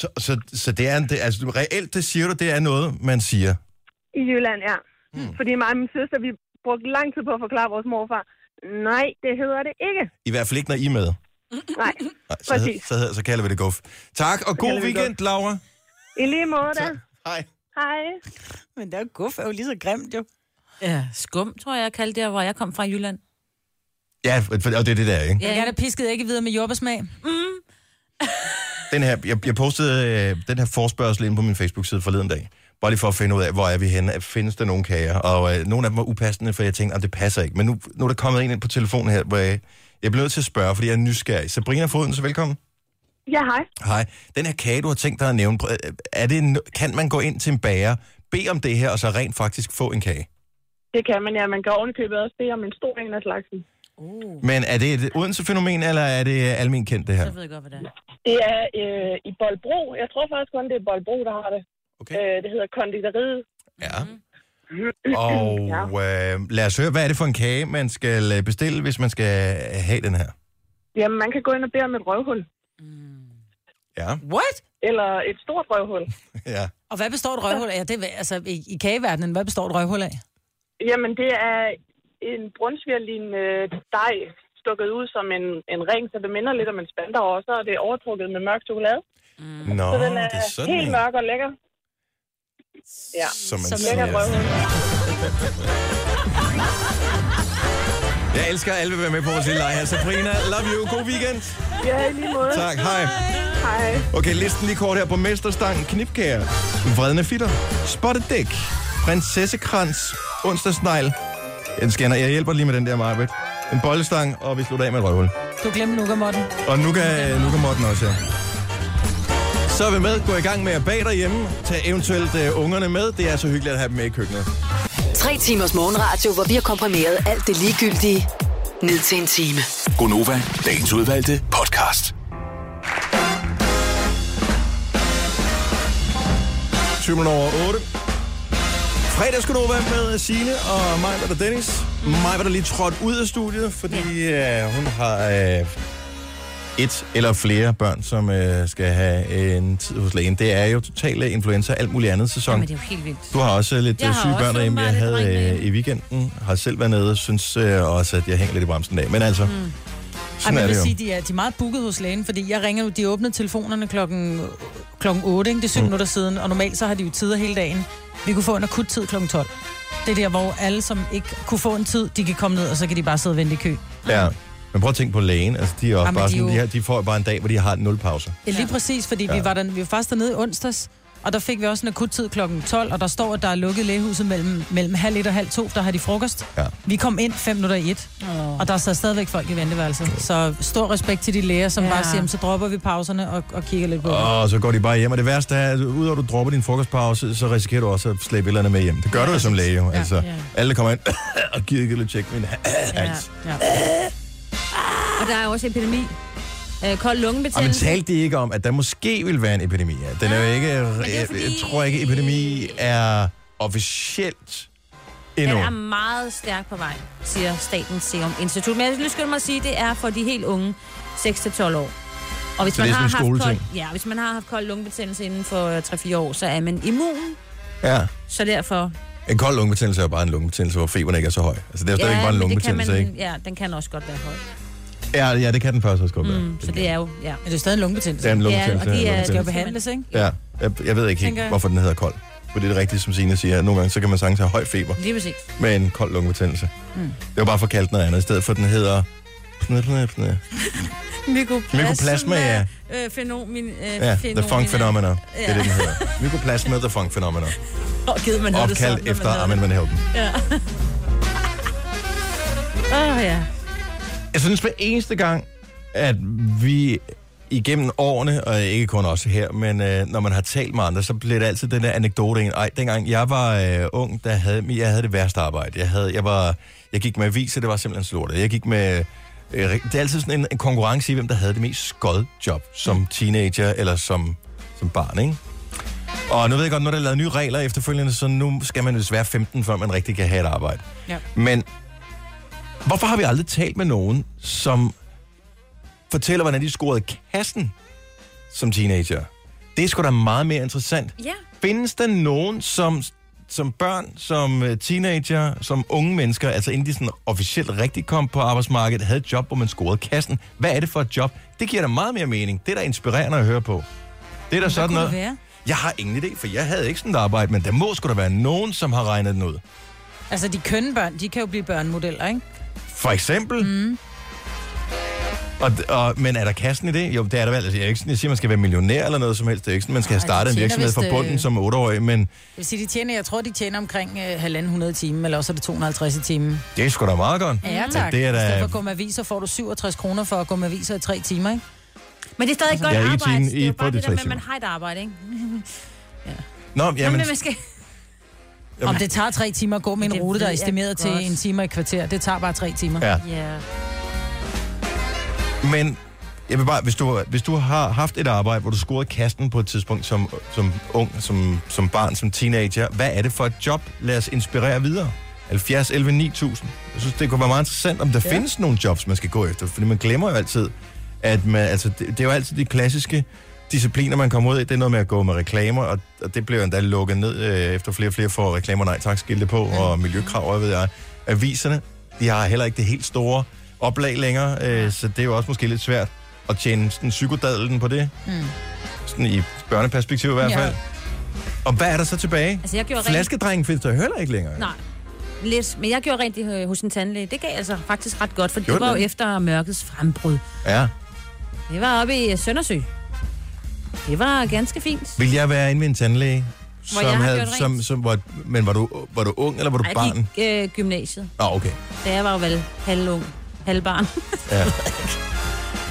[SPEAKER 1] Så, så, så det er, en, det, altså du- reelt, det siger du, det er noget, man siger.
[SPEAKER 7] I Jylland, ja. Mm. Fordi mig og min søster, vi brugte lang tid på at forklare vores morfar, nej, det hedder det ikke.
[SPEAKER 1] I hvert fald ikke, når I er med.
[SPEAKER 7] Nej,
[SPEAKER 1] Nej, så, hed,
[SPEAKER 7] Præcis.
[SPEAKER 1] så, hed, så kalder vi det guf. Tak, og god
[SPEAKER 7] kalder vi det
[SPEAKER 1] weekend, Laura.
[SPEAKER 7] i lige måde da.
[SPEAKER 1] Hej.
[SPEAKER 7] Hej.
[SPEAKER 2] Men der er guf er jo lige så grimt, jo.
[SPEAKER 3] Ja, skum, tror jeg, jeg kaldte det, hvor jeg kom fra i Jylland.
[SPEAKER 1] Ja, for, og det er det der, ikke?
[SPEAKER 2] Jeg er da pisket ikke videre med jordbærsmag.
[SPEAKER 1] Den her, jeg, jeg postede øh, den her forspørgsel ind på min Facebook-side forleden dag. Bare lige for at finde ud af, hvor er vi henne? Findes der nogle kager? Og øh, nogle af dem var upassende, for jeg tænkte, at det passer ikke. Men nu, nu er der kommet en ind på telefonen her, hvor jeg, jeg bliver nødt til at spørge, fordi jeg er nysgerrig. Sabrina Foden, så velkommen.
[SPEAKER 7] Ja, hej.
[SPEAKER 1] Hej. Den her kage, du har tænkt dig at nævne, prøv- øh, er det en, kan man gå ind til en bager, bede om det her, og så rent faktisk få en kage?
[SPEAKER 7] Det kan man, ja. Man kan ovenikøbet også bede om en stor en af slagsen.
[SPEAKER 1] Men er det et Odense-fænomen, eller er det øh, almen kendt, det her?
[SPEAKER 3] Uh. Så ved jeg godt, hvad det er.
[SPEAKER 6] Det er øh, i Bolbro. Jeg tror faktisk kun, det er Bolbro, der har det.
[SPEAKER 1] Okay.
[SPEAKER 6] Øh, det hedder konditoriet.
[SPEAKER 1] Ja. Og øh, lad os høre, hvad er det for en kage, man skal øh, bestille, hvis man skal øh, have den her?
[SPEAKER 7] Jamen, man kan gå ind og bede om et røvhul.
[SPEAKER 1] Ja,
[SPEAKER 2] What?
[SPEAKER 6] Eller et stort røvhul.
[SPEAKER 1] ja.
[SPEAKER 2] Og hvad består et røvhul af? Ja, det, er- altså, i, i kageverdenen, hvad består et røvhul af?
[SPEAKER 6] Jamen, det er en brunsvigerlignende
[SPEAKER 8] øh,
[SPEAKER 6] dej, stukket ud som en, en ring, så det minder lidt om en spander, og så er det overtrukket med mørk chokolade.
[SPEAKER 1] Nå,
[SPEAKER 6] Mm. Så den er,
[SPEAKER 1] det er sådan
[SPEAKER 6] helt
[SPEAKER 1] en,
[SPEAKER 6] mørk og lækker. Ja,
[SPEAKER 1] som man
[SPEAKER 2] Som
[SPEAKER 1] siger.
[SPEAKER 6] lækker røvhul.
[SPEAKER 1] Jeg elsker, at alle vil være med på vores lille leg her. Sabrina, love you. God weekend.
[SPEAKER 7] Ja, i lige måde.
[SPEAKER 1] Tak, hej.
[SPEAKER 7] Hej.
[SPEAKER 1] Okay, listen lige kort her på Mesterstangen. Knipkager, vredne fitter, spotted dæk, prinsessekrans, onsdagsnegl. En scanner. Jeg hjælper lige med den der, Marbet. En bollestang, og vi slutter af med et røvhul.
[SPEAKER 2] Du glemte nukamotten.
[SPEAKER 1] Og nu kan, nu kan Morten også, ja. Så er vi med. Gå i gang med at bage derhjemme. Tag eventuelt øh, ungerne med. Det er så hyggeligt at have dem med i køkkenet.
[SPEAKER 4] Tre timers morgenradio, hvor vi har komprimeret alt det ligegyldige ned til en time.
[SPEAKER 5] Gonova, dagens udvalgte podcast.
[SPEAKER 1] 20 minutter over 8. Fredag skulle du være med Signe og mig, var der Dennis. Mig var der lige trådt ud af studiet, fordi øh, hun har øh, et eller flere børn, som øh, skal have en tid hos lægen. Det er jo totale influenza og alt muligt andet sæson.
[SPEAKER 3] Jamen, det er jo helt vildt.
[SPEAKER 1] Du har også lidt
[SPEAKER 3] Jeg
[SPEAKER 1] øh,
[SPEAKER 3] har
[SPEAKER 1] syge
[SPEAKER 3] også
[SPEAKER 1] børn derhjemme. Jeg
[SPEAKER 3] åbenbart lidt
[SPEAKER 1] havde
[SPEAKER 3] drenge.
[SPEAKER 1] øh, i weekenden, har selv været nede og synes øh, også, at jeg hænger lidt i bremsen af. Men altså, mm.
[SPEAKER 2] Ej,
[SPEAKER 1] sådan
[SPEAKER 2] men
[SPEAKER 1] er
[SPEAKER 2] jeg vil
[SPEAKER 1] det jo.
[SPEAKER 2] sige, de er, de er meget booket hos lægen, fordi jeg ringer jo, de åbnede telefonerne klokken, klokken 8, ikke? det er 7 mm. minutter siden, og normalt så har de jo tider hele dagen. Vi kunne få en akut tid klokken 12. Det er der, hvor alle, som ikke kunne få en tid, de kan komme ned, og så kan de bare sidde og vente i kø.
[SPEAKER 1] Ja. Men prøv at tænke på lægen. Altså, de, er også
[SPEAKER 2] Jamen,
[SPEAKER 1] bare
[SPEAKER 2] de er
[SPEAKER 1] sådan, de,
[SPEAKER 2] jo-
[SPEAKER 1] her, de får bare en dag, hvor de har nul pauser.
[SPEAKER 2] Det er lige præcis, fordi ja. vi, var der, vi var faktisk dernede i onsdags, og der fik vi også en akuttid kl. 12, og der står, at der er lukket lægehuset mellem, mellem halv et og halv to, der har de frokost.
[SPEAKER 1] Ja.
[SPEAKER 2] Vi kom ind fem minutter i et,
[SPEAKER 3] Åh.
[SPEAKER 2] og der sad stadigvæk folk i venteværelset. Så stor respekt til de læger, som
[SPEAKER 3] Ja.
[SPEAKER 2] ja. bare siger, "Jamen, så dropper vi pauserne og, og kigger lidt på oh.
[SPEAKER 1] Og så går de bare hjem. Og det værste er, at udover at du dropper din frokostpause, så risikerer du også at slæbe et eller andet med hjem. Det gør du jo som læge. jo. Altså,
[SPEAKER 3] ja.
[SPEAKER 1] alle der kommer ind og giver ikke lidt tjek min
[SPEAKER 3] Ja,
[SPEAKER 1] hals.
[SPEAKER 3] ja.
[SPEAKER 10] Og der er også epidemi. Øh, kold
[SPEAKER 1] Og man
[SPEAKER 10] lungebetændelse.
[SPEAKER 1] Ah, talte de ikke om, at der måske vil være en epidemi? Ja, den er jo ikke...
[SPEAKER 10] Ah, det er
[SPEAKER 1] Jeg,
[SPEAKER 10] fordi- øh,
[SPEAKER 1] jeg tror ikke, epidemi er officielt endnu.
[SPEAKER 10] Den er meget stærk på vej, siger Statens Serum Institut. Men jeg vil lige skynde mig at sige, at det er for de helt unge, 6-12 år. Og hvis
[SPEAKER 1] Så
[SPEAKER 10] man
[SPEAKER 1] det er sådan
[SPEAKER 10] har
[SPEAKER 1] en
[SPEAKER 10] haft kold,
[SPEAKER 1] skoleting?
[SPEAKER 10] ja, hvis man har haft kold lungebetændelse inden for øh, 3-4 år, så er man immun.
[SPEAKER 1] Ja.
[SPEAKER 10] Så derfor...
[SPEAKER 1] En kold lungebetændelse er jo bare en lungebetændelse, hvor feberen ikke er så høj. Altså, det er stadig ikke bare en
[SPEAKER 10] men det kan
[SPEAKER 1] lungebetændelse,
[SPEAKER 10] man,
[SPEAKER 1] ikke?
[SPEAKER 10] Ja, den kan også godt være høj.
[SPEAKER 1] Ja, ja, det kan den faktisk også godt være.
[SPEAKER 10] Mm, så det er jo... Ja.
[SPEAKER 2] Men det er jo stadig en lungebetændelse.
[SPEAKER 1] Det er en
[SPEAKER 10] Ja, og
[SPEAKER 1] lungebetændelse.
[SPEAKER 10] de
[SPEAKER 1] en
[SPEAKER 10] er-
[SPEAKER 2] Det skal jo
[SPEAKER 1] lungebetændelse.
[SPEAKER 2] behandles, ikke?
[SPEAKER 1] Ja, jeg, jeg ved ikke
[SPEAKER 2] Tænker
[SPEAKER 1] helt,
[SPEAKER 2] jeg.
[SPEAKER 1] hvorfor den hedder kold. For det er det rigtige, som Signe siger. Nogle gange så kan man sagtens have høj feber
[SPEAKER 10] Lige præcis.
[SPEAKER 1] med en kold lungebetændelse.
[SPEAKER 10] Mm.
[SPEAKER 1] Det var bare for at kalde den noget andet, i stedet for at den hedder... Pne, pne, pne.
[SPEAKER 10] Mykoplasma.
[SPEAKER 1] Mykoplasma, ja.
[SPEAKER 10] Øh, fænomen, øh,
[SPEAKER 1] Ja, The Funk Phenomena. Det er
[SPEAKER 10] Ja.
[SPEAKER 1] det, den hedder. Mykoplasma The Funk Phenomena.
[SPEAKER 10] Og givet man hedder det sådan,
[SPEAKER 1] Opkaldt
[SPEAKER 10] når
[SPEAKER 1] efter
[SPEAKER 10] man hedder
[SPEAKER 1] Armin Van Helden.
[SPEAKER 10] det. Åh, oh, ja.
[SPEAKER 1] Jeg synes hver eneste gang, at vi igennem årene, og ikke kun os her, men øh, når man har talt med andre, så bliver det altid den der anekdote ind. Ej, dengang jeg var øh, ung, der havde, jeg havde det værste arbejde. Jeg, havde, jeg, var, jeg gik med aviser, det var simpelthen slortet. Jeg gik med... Øh, det er altid sådan en, en konkurrence i, hvem der havde det mest skod job som teenager eller som, som barn, ikke? Og nu ved jeg godt, nu er der lavet nye regler efterfølgende, så nu skal man desværre 15, før man rigtig kan have et arbejde.
[SPEAKER 2] Ja.
[SPEAKER 1] Men Hvorfor har vi aldrig talt med nogen, som fortæller, hvordan de scorede kassen som teenager? Det er sgu da meget mere interessant.
[SPEAKER 10] Ja.
[SPEAKER 1] Findes der nogen, som, som børn, som øh, teenager, som unge mennesker, altså inden de sådan officielt rigtig kom på arbejdsmarkedet, havde et job, hvor man scorede kassen? Hvad er det for et job? Det giver da meget mere mening. Det er da inspirerende at høre på. Det er da sådan
[SPEAKER 2] kunne det
[SPEAKER 1] noget.
[SPEAKER 2] være?
[SPEAKER 1] Jeg har ingen idé, for jeg havde ikke sådan et arbejde, men der må sgu da være nogen, som har regnet den ud.
[SPEAKER 2] Altså, de kønne børn, de kan jo blive børnemodeller, ikke?
[SPEAKER 1] For eksempel. Mm. Og, og, men er der kassen i det? Jo, det er der vel. Altså, jeg, er ikke sådan, jeg siger, man skal være millionær eller noget som helst. Det er ikke sådan, man skal have
[SPEAKER 2] Nej, de
[SPEAKER 1] startet en
[SPEAKER 2] tjener
[SPEAKER 1] virksomhed
[SPEAKER 2] vist,
[SPEAKER 1] fra
[SPEAKER 2] øh,
[SPEAKER 1] bunden som otteårig, men
[SPEAKER 2] Det vil sige, de tjener, jeg tror, de tjener omkring øh, 1.500 timer, eller også er det 250 i timen.
[SPEAKER 1] det er sgu da meget godt.
[SPEAKER 2] Ja,
[SPEAKER 1] Så
[SPEAKER 2] tak.
[SPEAKER 1] det er
[SPEAKER 2] I stedet for
[SPEAKER 1] da...
[SPEAKER 2] at gå med aviser, får du 67 kroner for at gå med aviser i tre timer, ikke?
[SPEAKER 10] Men det er stadig et godt
[SPEAKER 1] Ja, Altså, ikke i
[SPEAKER 10] arbejde.
[SPEAKER 1] timen,
[SPEAKER 10] det er
[SPEAKER 1] i-
[SPEAKER 10] jo
[SPEAKER 1] på
[SPEAKER 10] bare
[SPEAKER 1] de
[SPEAKER 10] det der
[SPEAKER 1] tre
[SPEAKER 10] med, at
[SPEAKER 1] timer.
[SPEAKER 10] man har et arbejde, ikke?
[SPEAKER 1] Nå, jamen,
[SPEAKER 10] Men man skal...
[SPEAKER 2] Om det tager tre timer at gå med en
[SPEAKER 10] Det
[SPEAKER 2] rute, der er
[SPEAKER 10] ved jeg
[SPEAKER 2] estimeret til
[SPEAKER 10] godt.
[SPEAKER 2] en time og et kvarter, det tager bare tre timer.
[SPEAKER 1] ja.
[SPEAKER 10] Ja.
[SPEAKER 1] men jeg vil bare, hvis du, hvis du har haft et arbejde, hvor du scorede kassen på et tidspunkt som, som ung, som, som barn, som teenager, hvad er det for et job? Lad os inspirere videre. 70, 11, 9000. Jeg synes, det kunne være meget interessant, om der ja. findes nogle jobs, man skal gå efter, fordi man glemmer jo altid, at man, altså, det, det er jo altid de klassiske discipliner, man kommer ud i. Det er noget med at gå med reklamer, og, og det bliver jo endda lukket ned øh, efter flere og flere får reklamer nej tak skilte på, og miljøkrav, og hvad ved jeg. Aviserne, de har heller ikke det helt store oplag længere, øh, så det er jo også måske lidt svært at tjene sådan psykodadelen på det. Mm. Sådan i børneperspektiv i hvert
[SPEAKER 2] Ja.
[SPEAKER 1] fald. Og hvad er der så tilbage?
[SPEAKER 10] Altså, jeg gjorde rent...
[SPEAKER 1] Flaskedrengen findes der heller ikke længere.
[SPEAKER 10] Nej. Lidt. Men jeg gjorde rent i, øh, hos en tandlæge. Det gav altså faktisk ret godt, for det
[SPEAKER 1] Gjorde
[SPEAKER 10] var jo
[SPEAKER 1] det?
[SPEAKER 10] efter mørkets frembrud.
[SPEAKER 1] Ja.
[SPEAKER 10] Det var oppe i øh, Søndersø. Det var ganske fint.
[SPEAKER 1] Vil jeg være inde ved en tandlæge?
[SPEAKER 10] Hvor jeg har gjort rent.
[SPEAKER 1] som, som, var, men var du, var du ung, eller var du
[SPEAKER 10] Ej, Jeg
[SPEAKER 1] barn?
[SPEAKER 10] gik øh, gymnasiet.
[SPEAKER 1] Nå, okay.
[SPEAKER 10] Da jeg var jo vel halvung, halvbarn.
[SPEAKER 1] Ja.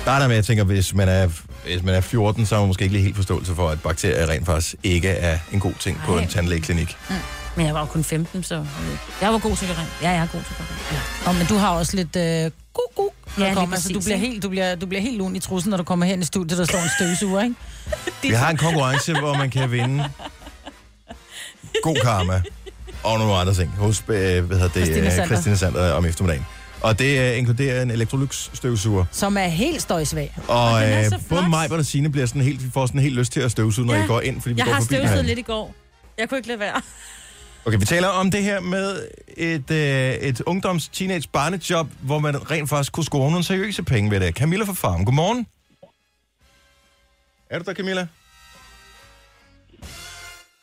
[SPEAKER 1] Der er der med, jeg tænker, hvis man er, hvis man er 14, så har man måske ikke lige helt forståelse for, at bakterier rent faktisk ikke er en god ting på
[SPEAKER 10] Nej.
[SPEAKER 1] en tandlægeklinik.
[SPEAKER 10] Men jeg var jo kun 15, så... øh, Jeg var god til det rent. Ja, jeg er god til det rent. Ja.
[SPEAKER 2] Og men du har også lidt øh, guk, guk, når
[SPEAKER 10] Ja, lige
[SPEAKER 2] ja, du kommer. Altså, du
[SPEAKER 10] præcis,
[SPEAKER 2] bliver,
[SPEAKER 10] ikke?
[SPEAKER 2] helt, du, bliver, du bliver helt lun i trussen, når du kommer hen i studiet, der står en støvsuger, ikke?
[SPEAKER 1] Vi har en konkurrence, hvor man kan vinde god karma og nogle andre ting hos øh, hvad hedder det,
[SPEAKER 2] Christine
[SPEAKER 1] øh,
[SPEAKER 2] Sander.
[SPEAKER 1] Christine Sander om eftermiddagen. Og det øh, inkluderer en Electrolux støvsuger.
[SPEAKER 2] Som er helt støjsvag.
[SPEAKER 1] Og
[SPEAKER 10] den er
[SPEAKER 1] øh,
[SPEAKER 10] så flot.
[SPEAKER 1] både mig og Signe bliver sådan helt, vi får sådan helt lyst til at støvsuge, når
[SPEAKER 10] Ja.
[SPEAKER 1] I går ind, fordi vi
[SPEAKER 10] Jeg
[SPEAKER 1] går
[SPEAKER 10] har
[SPEAKER 1] forbi
[SPEAKER 10] støvsuget
[SPEAKER 1] hinanden.
[SPEAKER 10] lidt i går. Jeg kunne ikke lade være.
[SPEAKER 1] Okay, vi taler om det her med et, øh, et ungdoms teenage barnejob, hvor man rent faktisk kunne score nogle seriøse penge ved det. Camilla fra Farm, godmorgen. Er du der, Camilla?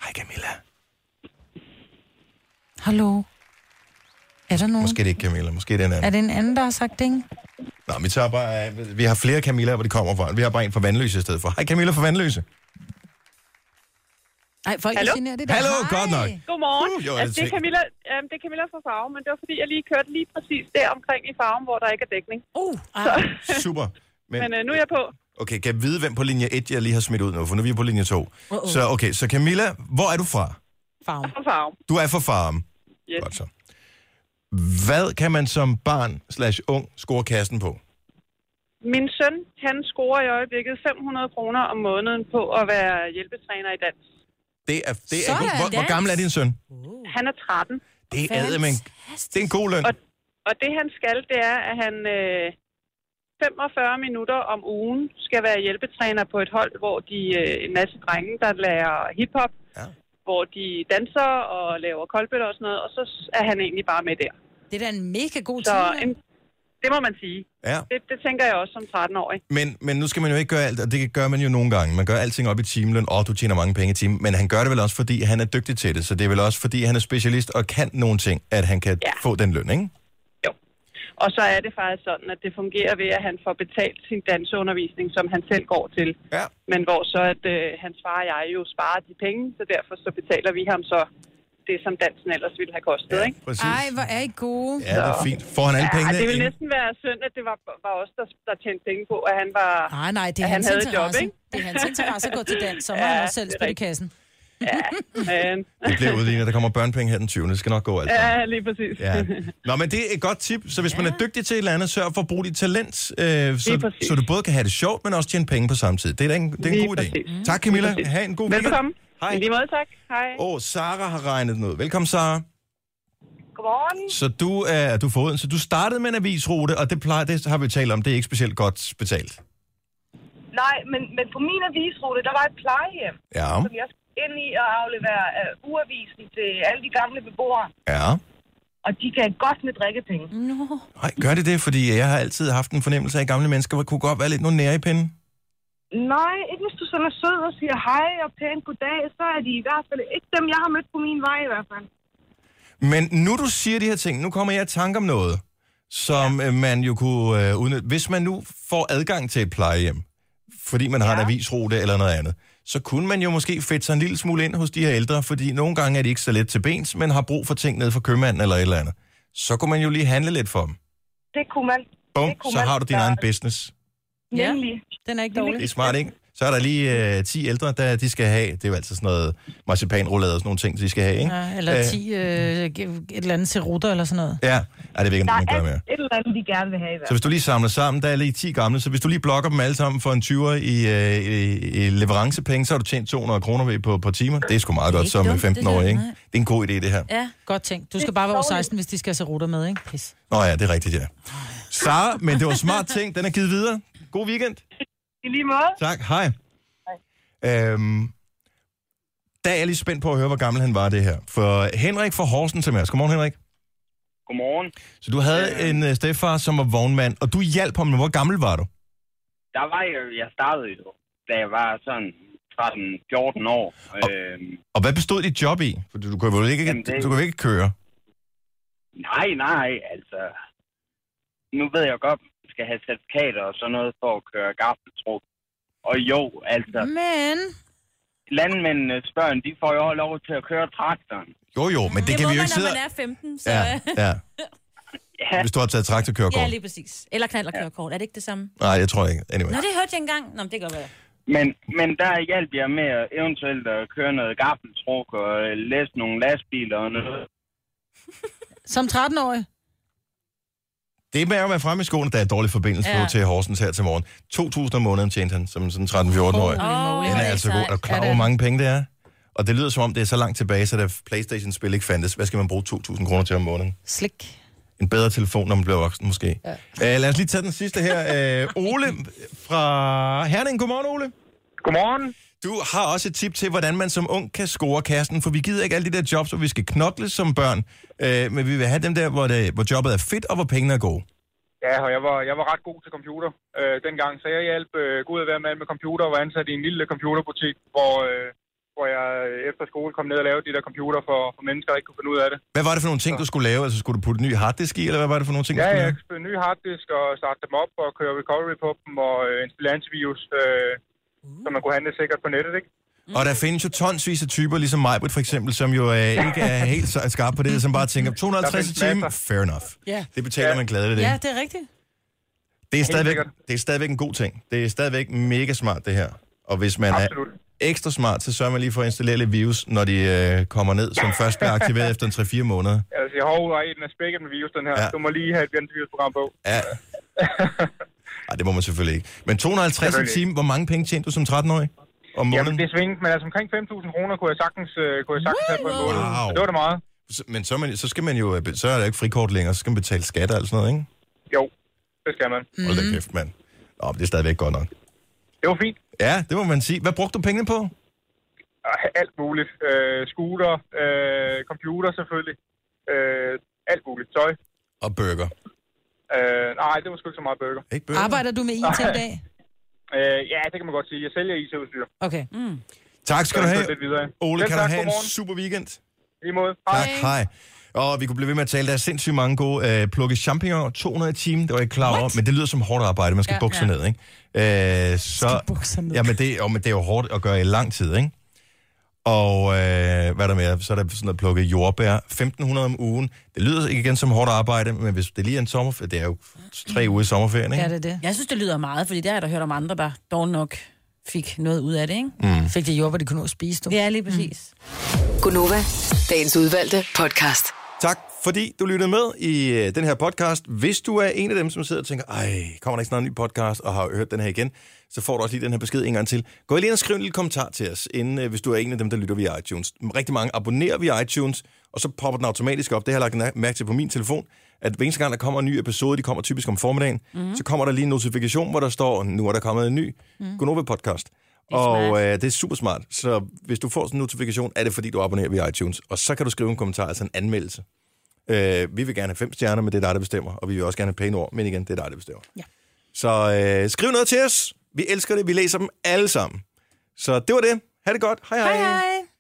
[SPEAKER 1] Hej, Camilla.
[SPEAKER 2] Hallo? Er der nogen?
[SPEAKER 1] Måske det ikke Camilla, måske det er en anden.
[SPEAKER 2] Er det en anden, der har sagt ding?
[SPEAKER 1] Nå, vi tager bare... øh, Vi har flere Camilla, hvor de kommer fra. Vi har bare en fra Vandløse i stedet for. Hej Camilla fra Vandløse.
[SPEAKER 2] Nej, folk
[SPEAKER 1] Hallo?
[SPEAKER 2] Hallo? generer det der.
[SPEAKER 1] Hallo, godt nok.
[SPEAKER 8] Godmorgen.
[SPEAKER 1] Uh, jo, det
[SPEAKER 8] altså, det, er
[SPEAKER 1] tænker-
[SPEAKER 8] Camilla, øhm, det er Camilla fra Farve, men det var fordi, jeg lige kørte lige præcis der omkring i Farven, hvor der ikke er dækning.
[SPEAKER 11] Uh,
[SPEAKER 8] så,
[SPEAKER 1] Super. Men,
[SPEAKER 8] men øh, nu er jeg på.
[SPEAKER 1] okay, kan jeg vide, hvem på linje 1, jeg lige har smidt ud nu? For nu er vi på linje 2.
[SPEAKER 8] Uh-oh.
[SPEAKER 1] Så okay, så Camilla, hvor er du fra?
[SPEAKER 2] Farven.
[SPEAKER 8] Fra Farven.
[SPEAKER 1] Du er fra Farum.
[SPEAKER 8] Yes.
[SPEAKER 1] Godt så. Hvad kan man som barn slash ung score kassen på?
[SPEAKER 8] Min søn, han scorer i øjeblikket 500 kroner om måneden på at være hjælpetræner i dans.
[SPEAKER 1] Det er, det er
[SPEAKER 8] Sådan,
[SPEAKER 1] god. Hvor, hvor
[SPEAKER 8] dans.
[SPEAKER 1] gammel er din søn?
[SPEAKER 8] Han er 13.
[SPEAKER 1] Det er ædemen. Det er en god løn.
[SPEAKER 8] Og, og det han skal, det er, at han øh, 45 minutter om ugen skal være hjælpetræner på et hold, hvor de øh, en masse drenge, der lærer hiphop,
[SPEAKER 1] ja.
[SPEAKER 8] hvor de danser og laver koldbøtter og sådan noget, og så s- er han egentlig bare med der.
[SPEAKER 2] Det er da en mega god
[SPEAKER 8] Så
[SPEAKER 2] tid.
[SPEAKER 8] en, det må man sige.
[SPEAKER 1] Ja.
[SPEAKER 8] Det, det tænker jeg også som 13-årig.
[SPEAKER 1] Men, men nu skal man jo ikke gøre alt, og det gør man jo nogle gange. Man gør alting op i timeløn, og du tjener mange penge i timen, men han gør det vel også, fordi han er dygtig til det. Så det er vel også, fordi han er specialist og kan nogle ting, at han kan ja. få den løn, ikke?
[SPEAKER 8] Og så er det faktisk sådan, at det fungerer ved, at han får betalt sin danseundervisning, som han selv går til.
[SPEAKER 1] Ja.
[SPEAKER 8] Men hvor så, at øh, hans far og jeg jo sparer de penge, så derfor så betaler vi ham så det, som dansen ellers ville have kostet. Ja, ikke?
[SPEAKER 1] Præcis.
[SPEAKER 2] Ej, hvor er I gode.
[SPEAKER 1] Ja, det er fint. Får han alle
[SPEAKER 8] Ja,
[SPEAKER 1] pengene?
[SPEAKER 8] det ville
[SPEAKER 1] inden-
[SPEAKER 8] næsten være synd, at det var, var os, der, der tjente penge på, at han var...
[SPEAKER 2] Nej, Ah, nej, det er
[SPEAKER 8] at
[SPEAKER 2] hans
[SPEAKER 8] han havde et job,
[SPEAKER 2] interesse.
[SPEAKER 8] ikke?
[SPEAKER 2] Det er hans interesse at gå til dans, så må ja, han også selv spille i kassen.
[SPEAKER 8] Ja, men...
[SPEAKER 1] Det bliver udlignet. Der kommer børnepenge her den 20. Det skal nok gå alt. sammen.
[SPEAKER 8] Ja, lige præcis.
[SPEAKER 1] Ja. Nå, men det er et godt tip. Så hvis ja. man er dygtig til et eller andet, sørg for at bruge dit talent, øh, så,
[SPEAKER 8] præcis.
[SPEAKER 1] så du både kan have det sjovt, men også tjene penge på samme tid. Det er da en, det er en
[SPEAKER 8] Lige
[SPEAKER 1] god idé.
[SPEAKER 8] præcis.
[SPEAKER 1] Tak Camilla.
[SPEAKER 8] Lige præcis.
[SPEAKER 1] Ha' en god
[SPEAKER 8] Velkommen.
[SPEAKER 1] Hej.
[SPEAKER 8] I lige måde, tak. Hej.
[SPEAKER 1] Åh, oh, Sara har regnet den ud. Velkommen, Sara.
[SPEAKER 7] Godmorgen.
[SPEAKER 1] Så du er, du er foruden, så du startede med en avisrute, og det, plejer, det har vi talt om, det er ikke specielt godt betalt.
[SPEAKER 7] Nej, men, men på min avisrute, der var et plejehjem,
[SPEAKER 1] Ja.
[SPEAKER 7] som jeg skulle ind i og aflevere uh, uavisen til alle de gamle beboere,
[SPEAKER 1] Ja.
[SPEAKER 7] og de gav godt med drikkepenge.
[SPEAKER 2] No.
[SPEAKER 1] Nej, gør det det, fordi jeg har altid haft en fornemmelse af, at gamle mennesker kunne godt være lidt nogle nære i pinden.
[SPEAKER 7] Nej, ikke hvis du sådan er sød og siger hej og pænt goddag, så er de i hvert fald ikke dem, jeg har mødt på min vej i hvert fald.
[SPEAKER 1] Men nu du siger de her ting, nu kommer jeg i tanke om noget, som ja. man jo kunne øh, udnytte. Hvis man nu får adgang til et plejehjem, fordi man har en avisrute eller noget andet, så kunne man jo måske fedte sig en lille smule ind hos de her ældre, fordi nogle gange er de ikke så let til bens, men har brug for ting nede fra købmanden eller et eller andet. Så kunne man jo lige handle lidt for dem.
[SPEAKER 7] Det kunne man.
[SPEAKER 1] Bum,
[SPEAKER 7] det kunne
[SPEAKER 1] så
[SPEAKER 7] man
[SPEAKER 1] har du din
[SPEAKER 7] gøre.
[SPEAKER 1] egen business.
[SPEAKER 7] Nemlig.
[SPEAKER 2] Den er ikke
[SPEAKER 7] dårlig.
[SPEAKER 1] Det er smart, ikke? Så er der lige øh, 10 ældre, der de skal have. Det er jo altid sådan noget marcipanrullade og sådan nogle ting, de skal have, ikke?
[SPEAKER 2] Ja, eller
[SPEAKER 1] Øh,
[SPEAKER 2] 10 øh, et eller andet til ruter eller sådan noget.
[SPEAKER 1] Ja, Ej, det vil ikke,
[SPEAKER 7] Der
[SPEAKER 1] man
[SPEAKER 7] er
[SPEAKER 1] gør mere.
[SPEAKER 7] et eller andet, de gerne vil have i hvert
[SPEAKER 1] Så hvis du lige samler sammen, der er lige 10 gamle, så hvis du lige blokker dem alle sammen for en 20'er i, øh, i, i leverancepenge, så har du tjent 200 kroner ved på, på timer. Det er sgu meget
[SPEAKER 2] Det er
[SPEAKER 1] godt
[SPEAKER 2] ikke
[SPEAKER 1] som
[SPEAKER 2] dumt, det
[SPEAKER 1] 15 år,
[SPEAKER 2] der,
[SPEAKER 1] ikke?
[SPEAKER 2] nej.
[SPEAKER 1] Det er en god idé, det her.
[SPEAKER 2] Ja. Godt tænkt. Du skal bare være over 16, hvis de skal have så ruter med, ikke? Pis.
[SPEAKER 1] Nå ja, det er rigtigt, ja. Sara, men det var smart ting. Den er givet videre. God weekend.
[SPEAKER 7] I lige måde.
[SPEAKER 1] Tak, hej. Øhm, der er jeg lige spændt på at høre, hvor gammel han var det her. For Henrik fra Horsens er med os. Godmorgen, Henrik.
[SPEAKER 12] Godmorgen.
[SPEAKER 1] Så du havde en øh, stedfar, som var vognmand, og du hjalp ham. men Hvor gammel var du?
[SPEAKER 12] Der var jeg, jeg startede jo, da jeg var sådan 13-14 år. Og... Øhm,
[SPEAKER 1] Og hvad bestod dit job i? For du, du kunne vel ikke,
[SPEAKER 12] Jamen, det-
[SPEAKER 1] du kunne vel ikke køre?
[SPEAKER 12] nej, nej, altså... Nu ved jeg godt, man skal have certifikater og sådan noget for at køre gaffeltrup. Og jo, altså...
[SPEAKER 2] Men...
[SPEAKER 12] Landmændenes børn, de får jo lov til at køre traktoren.
[SPEAKER 1] Jo, jo, men det, det kan
[SPEAKER 12] må
[SPEAKER 1] vi jo
[SPEAKER 12] man,
[SPEAKER 1] ikke
[SPEAKER 12] når
[SPEAKER 1] sidde...
[SPEAKER 12] man
[SPEAKER 3] er 15, så... øh,
[SPEAKER 1] Ja, ja.
[SPEAKER 12] ja.
[SPEAKER 1] Hvis du har taget traktorkørekort.
[SPEAKER 3] Ja, lige præcis. Eller knald og kørekort. Er det ikke det samme?
[SPEAKER 1] Nej, jeg tror ikke. Anyway.
[SPEAKER 3] Nå, det hørte jeg engang. Nå, men det kan godt være.
[SPEAKER 12] Men, men der hjalp jeg med at eventuelt at køre noget gaffeltruk og øh, læse nogle lastbiler og noget.
[SPEAKER 2] Som 13-årig?
[SPEAKER 1] Det er med at være fremme i skoene, der er dårlig forbindelse ja.
[SPEAKER 2] Ja.
[SPEAKER 1] på til Horsens her til morgen. 2.000 om måneden tjente han som sådan 13-14-årig.
[SPEAKER 2] Holy moly,
[SPEAKER 1] den
[SPEAKER 2] hvor
[SPEAKER 1] er
[SPEAKER 2] er det
[SPEAKER 1] altså god.
[SPEAKER 2] sejt.
[SPEAKER 1] Og klar
[SPEAKER 2] Ja, det
[SPEAKER 1] over, hvor
[SPEAKER 2] er det.
[SPEAKER 1] mange penge det er. Og det lyder som om, det er så langt tilbage, så da Playstation-spil ikke fandtes, hvad skal man bruge 2.000 kroner til om måneden?
[SPEAKER 2] Slik.
[SPEAKER 1] En bedre telefon, når man bliver voksen, måske. Ja. Uh, lad os lige tage den sidste her. Uh, Ole fra Herning. Godmorgen, Ole.
[SPEAKER 13] Godmorgen.
[SPEAKER 1] Du har også et tip til, hvordan man som ung kan score kassen, for vi gider ikke alle de der jobs, hvor vi skal knokle som børn, uh, men vi vil have dem der, hvor, det, hvor jobbet er fedt, og hvor pengene er gode.
[SPEAKER 13] Ja, og jeg var, jeg var ret god til computer øh, dengang, så jeg hjalp øh, Gud at være med med computer og var ansat i en lille computerbutik, hvor øh,
[SPEAKER 8] hvor jeg øh, efter skole kom ned og lavede de der computer for, for mennesker, der ikke kunne finde ud af det.
[SPEAKER 1] Hvad var det for nogle ting, du skulle lave? Altså, skulle du putte en ny harddisk i, eller hvad var det for nogle ting, du
[SPEAKER 8] Ja,
[SPEAKER 1] skulle
[SPEAKER 8] jeg
[SPEAKER 1] lave?
[SPEAKER 8] kan spille ny harddisk og starte dem op og køre recovery på dem og øh, installere antivirus, øh, så man kunne handle sikkert på nettet, ikke?
[SPEAKER 1] Og der findes jo tonsvis af typer, ligesom Majbrit for eksempel, som jo øh, ikke er helt så skarp på det, som bare tænker, 250 i
[SPEAKER 8] Der findes
[SPEAKER 1] timen, fair enough.
[SPEAKER 2] Ja.
[SPEAKER 1] Det betaler man glædeligt af.
[SPEAKER 2] Ja, det er rigtigt.
[SPEAKER 1] Det er,
[SPEAKER 2] Helt
[SPEAKER 1] stadigvæk, det er stadigvæk en god ting. Det er stadigvæk mega smart, det her. Og hvis man Absolut. er ekstra smart, så sørger man lige for at installere lidt virus, når de øh, kommer ned, som først bliver aktiveret efter en 3-4 måneder.
[SPEAKER 8] Altså, Jeg siger, hov, ej, den er spækket med virus, den her.
[SPEAKER 1] Ja.
[SPEAKER 8] Ja. Du må lige have et antivirusprogram på.
[SPEAKER 1] Ja. Ej, det må man selvfølgelig ikke. Men 250 i
[SPEAKER 8] Selvfølgelig
[SPEAKER 1] timen, hvor mange penge tjente du som 13-årig om måneden?
[SPEAKER 8] Jamen, det svingede, men altså omkring 5.000 kroner kunne jeg sagtens, øh, kunne jeg sagtens have på en måned.
[SPEAKER 1] Wow.
[SPEAKER 8] Så det var da meget.
[SPEAKER 1] Så- Men så, er man, så skal man jo, øh, be- så er der ikke frikort længere, så skal man betale skat og alt sådan noget, ikke?
[SPEAKER 8] Jo, det skal man.
[SPEAKER 1] Hold da kæft, mand. Nå, men det er stadigvæk godt nok.
[SPEAKER 8] Det var fint.
[SPEAKER 1] Ja, det må man sige. Hvad brugte du pengene på?
[SPEAKER 8] Og Alt muligt. Øh, scooter, øh, computer selvfølgelig. Øh, alt muligt. Tøj.
[SPEAKER 1] Og burger.
[SPEAKER 8] Øh, nej, det var sgu ikke så meget burger.
[SPEAKER 1] Ikke
[SPEAKER 2] Arbejder du med IT i dag?
[SPEAKER 8] Øh, ja, det kan man godt sige. Jeg sælger IT-udstyr.
[SPEAKER 2] Okay. Mm.
[SPEAKER 1] Tak skal du
[SPEAKER 8] Så er det
[SPEAKER 1] have.
[SPEAKER 8] lidt videre.
[SPEAKER 1] Ole,
[SPEAKER 8] Selv
[SPEAKER 1] kan du
[SPEAKER 8] tak.
[SPEAKER 1] have en
[SPEAKER 8] Godmorgen.
[SPEAKER 1] super weekend?
[SPEAKER 8] I måde.
[SPEAKER 1] Tak, hej. Og vi kunne blive ved med at tale. Der er sindssygt mange gode øh, plukket champignoner. 200 i timen, det var jeg ikke klar over. Men det lyder som hårdt arbejde. Man skal
[SPEAKER 14] Ja,
[SPEAKER 1] ja, bukke sig
[SPEAKER 14] ja.
[SPEAKER 1] ned, ikke? Øh, så, skal bukke sig ned. Jamen, det, jo, men det er jo hårdt at gøre i lang tid, ikke? Og øh, hvad er der mere? Så er der sådan noget plukket jordbær. 1.500 om ugen. Det lyder ikke igen som hårdt arbejde, men hvis det lige er en sommerferie, det er jo tre uger i sommerferien, ikke?
[SPEAKER 3] Ja, det er det. Jeg synes, det lyder meget, fordi der har jeg da hørt om andre, der dårligt nok fik noget ud af det, ikke?
[SPEAKER 1] Mm.
[SPEAKER 2] Fik det jord, de kunne nå at spise, du?
[SPEAKER 3] Ja, lige præcis.
[SPEAKER 2] Mm.
[SPEAKER 4] Gunova, dagens udvalgte podcast.
[SPEAKER 1] Tak, fordi du lyttede med i øh, den her podcast. Hvis du er en af dem, som sidder og tænker, ej, kommer der ikke snart en ny podcast, og har hørt den her igen, så får du også lige den her besked en gang til. Gå lige ind og skriv en lille kommentar til os, inden, øh, hvis du er en af dem, der lytter via iTunes. Rigtig mange abonnerer via iTunes, og så popper den automatisk op. Det har jeg lagt mærke til på min telefon, at hver eneste gang, der kommer en ny episode, de kommer typisk om formiddagen, mm. så kommer der lige en notifikation, hvor der står, nu er der kommet en ny mm. Gonova-podcast. Og øh, det er super smart. Så hvis du får sådan en notifikation, er det fordi, du abonnerer via iTunes. Og så kan du skrive en kommentar, altså en anmeldelse. Øh, vi vil gerne have fem stjerner, men det er dig, der bestemmer. Og vi vil også gerne have pæne ord, men igen, det er dig, der bestemmer.
[SPEAKER 2] Ja.
[SPEAKER 1] Så øh, skriv noget til os. Vi elsker det. Vi læser dem alle sammen. Så det var det. Ha' det godt. Hej hej. hej, hej.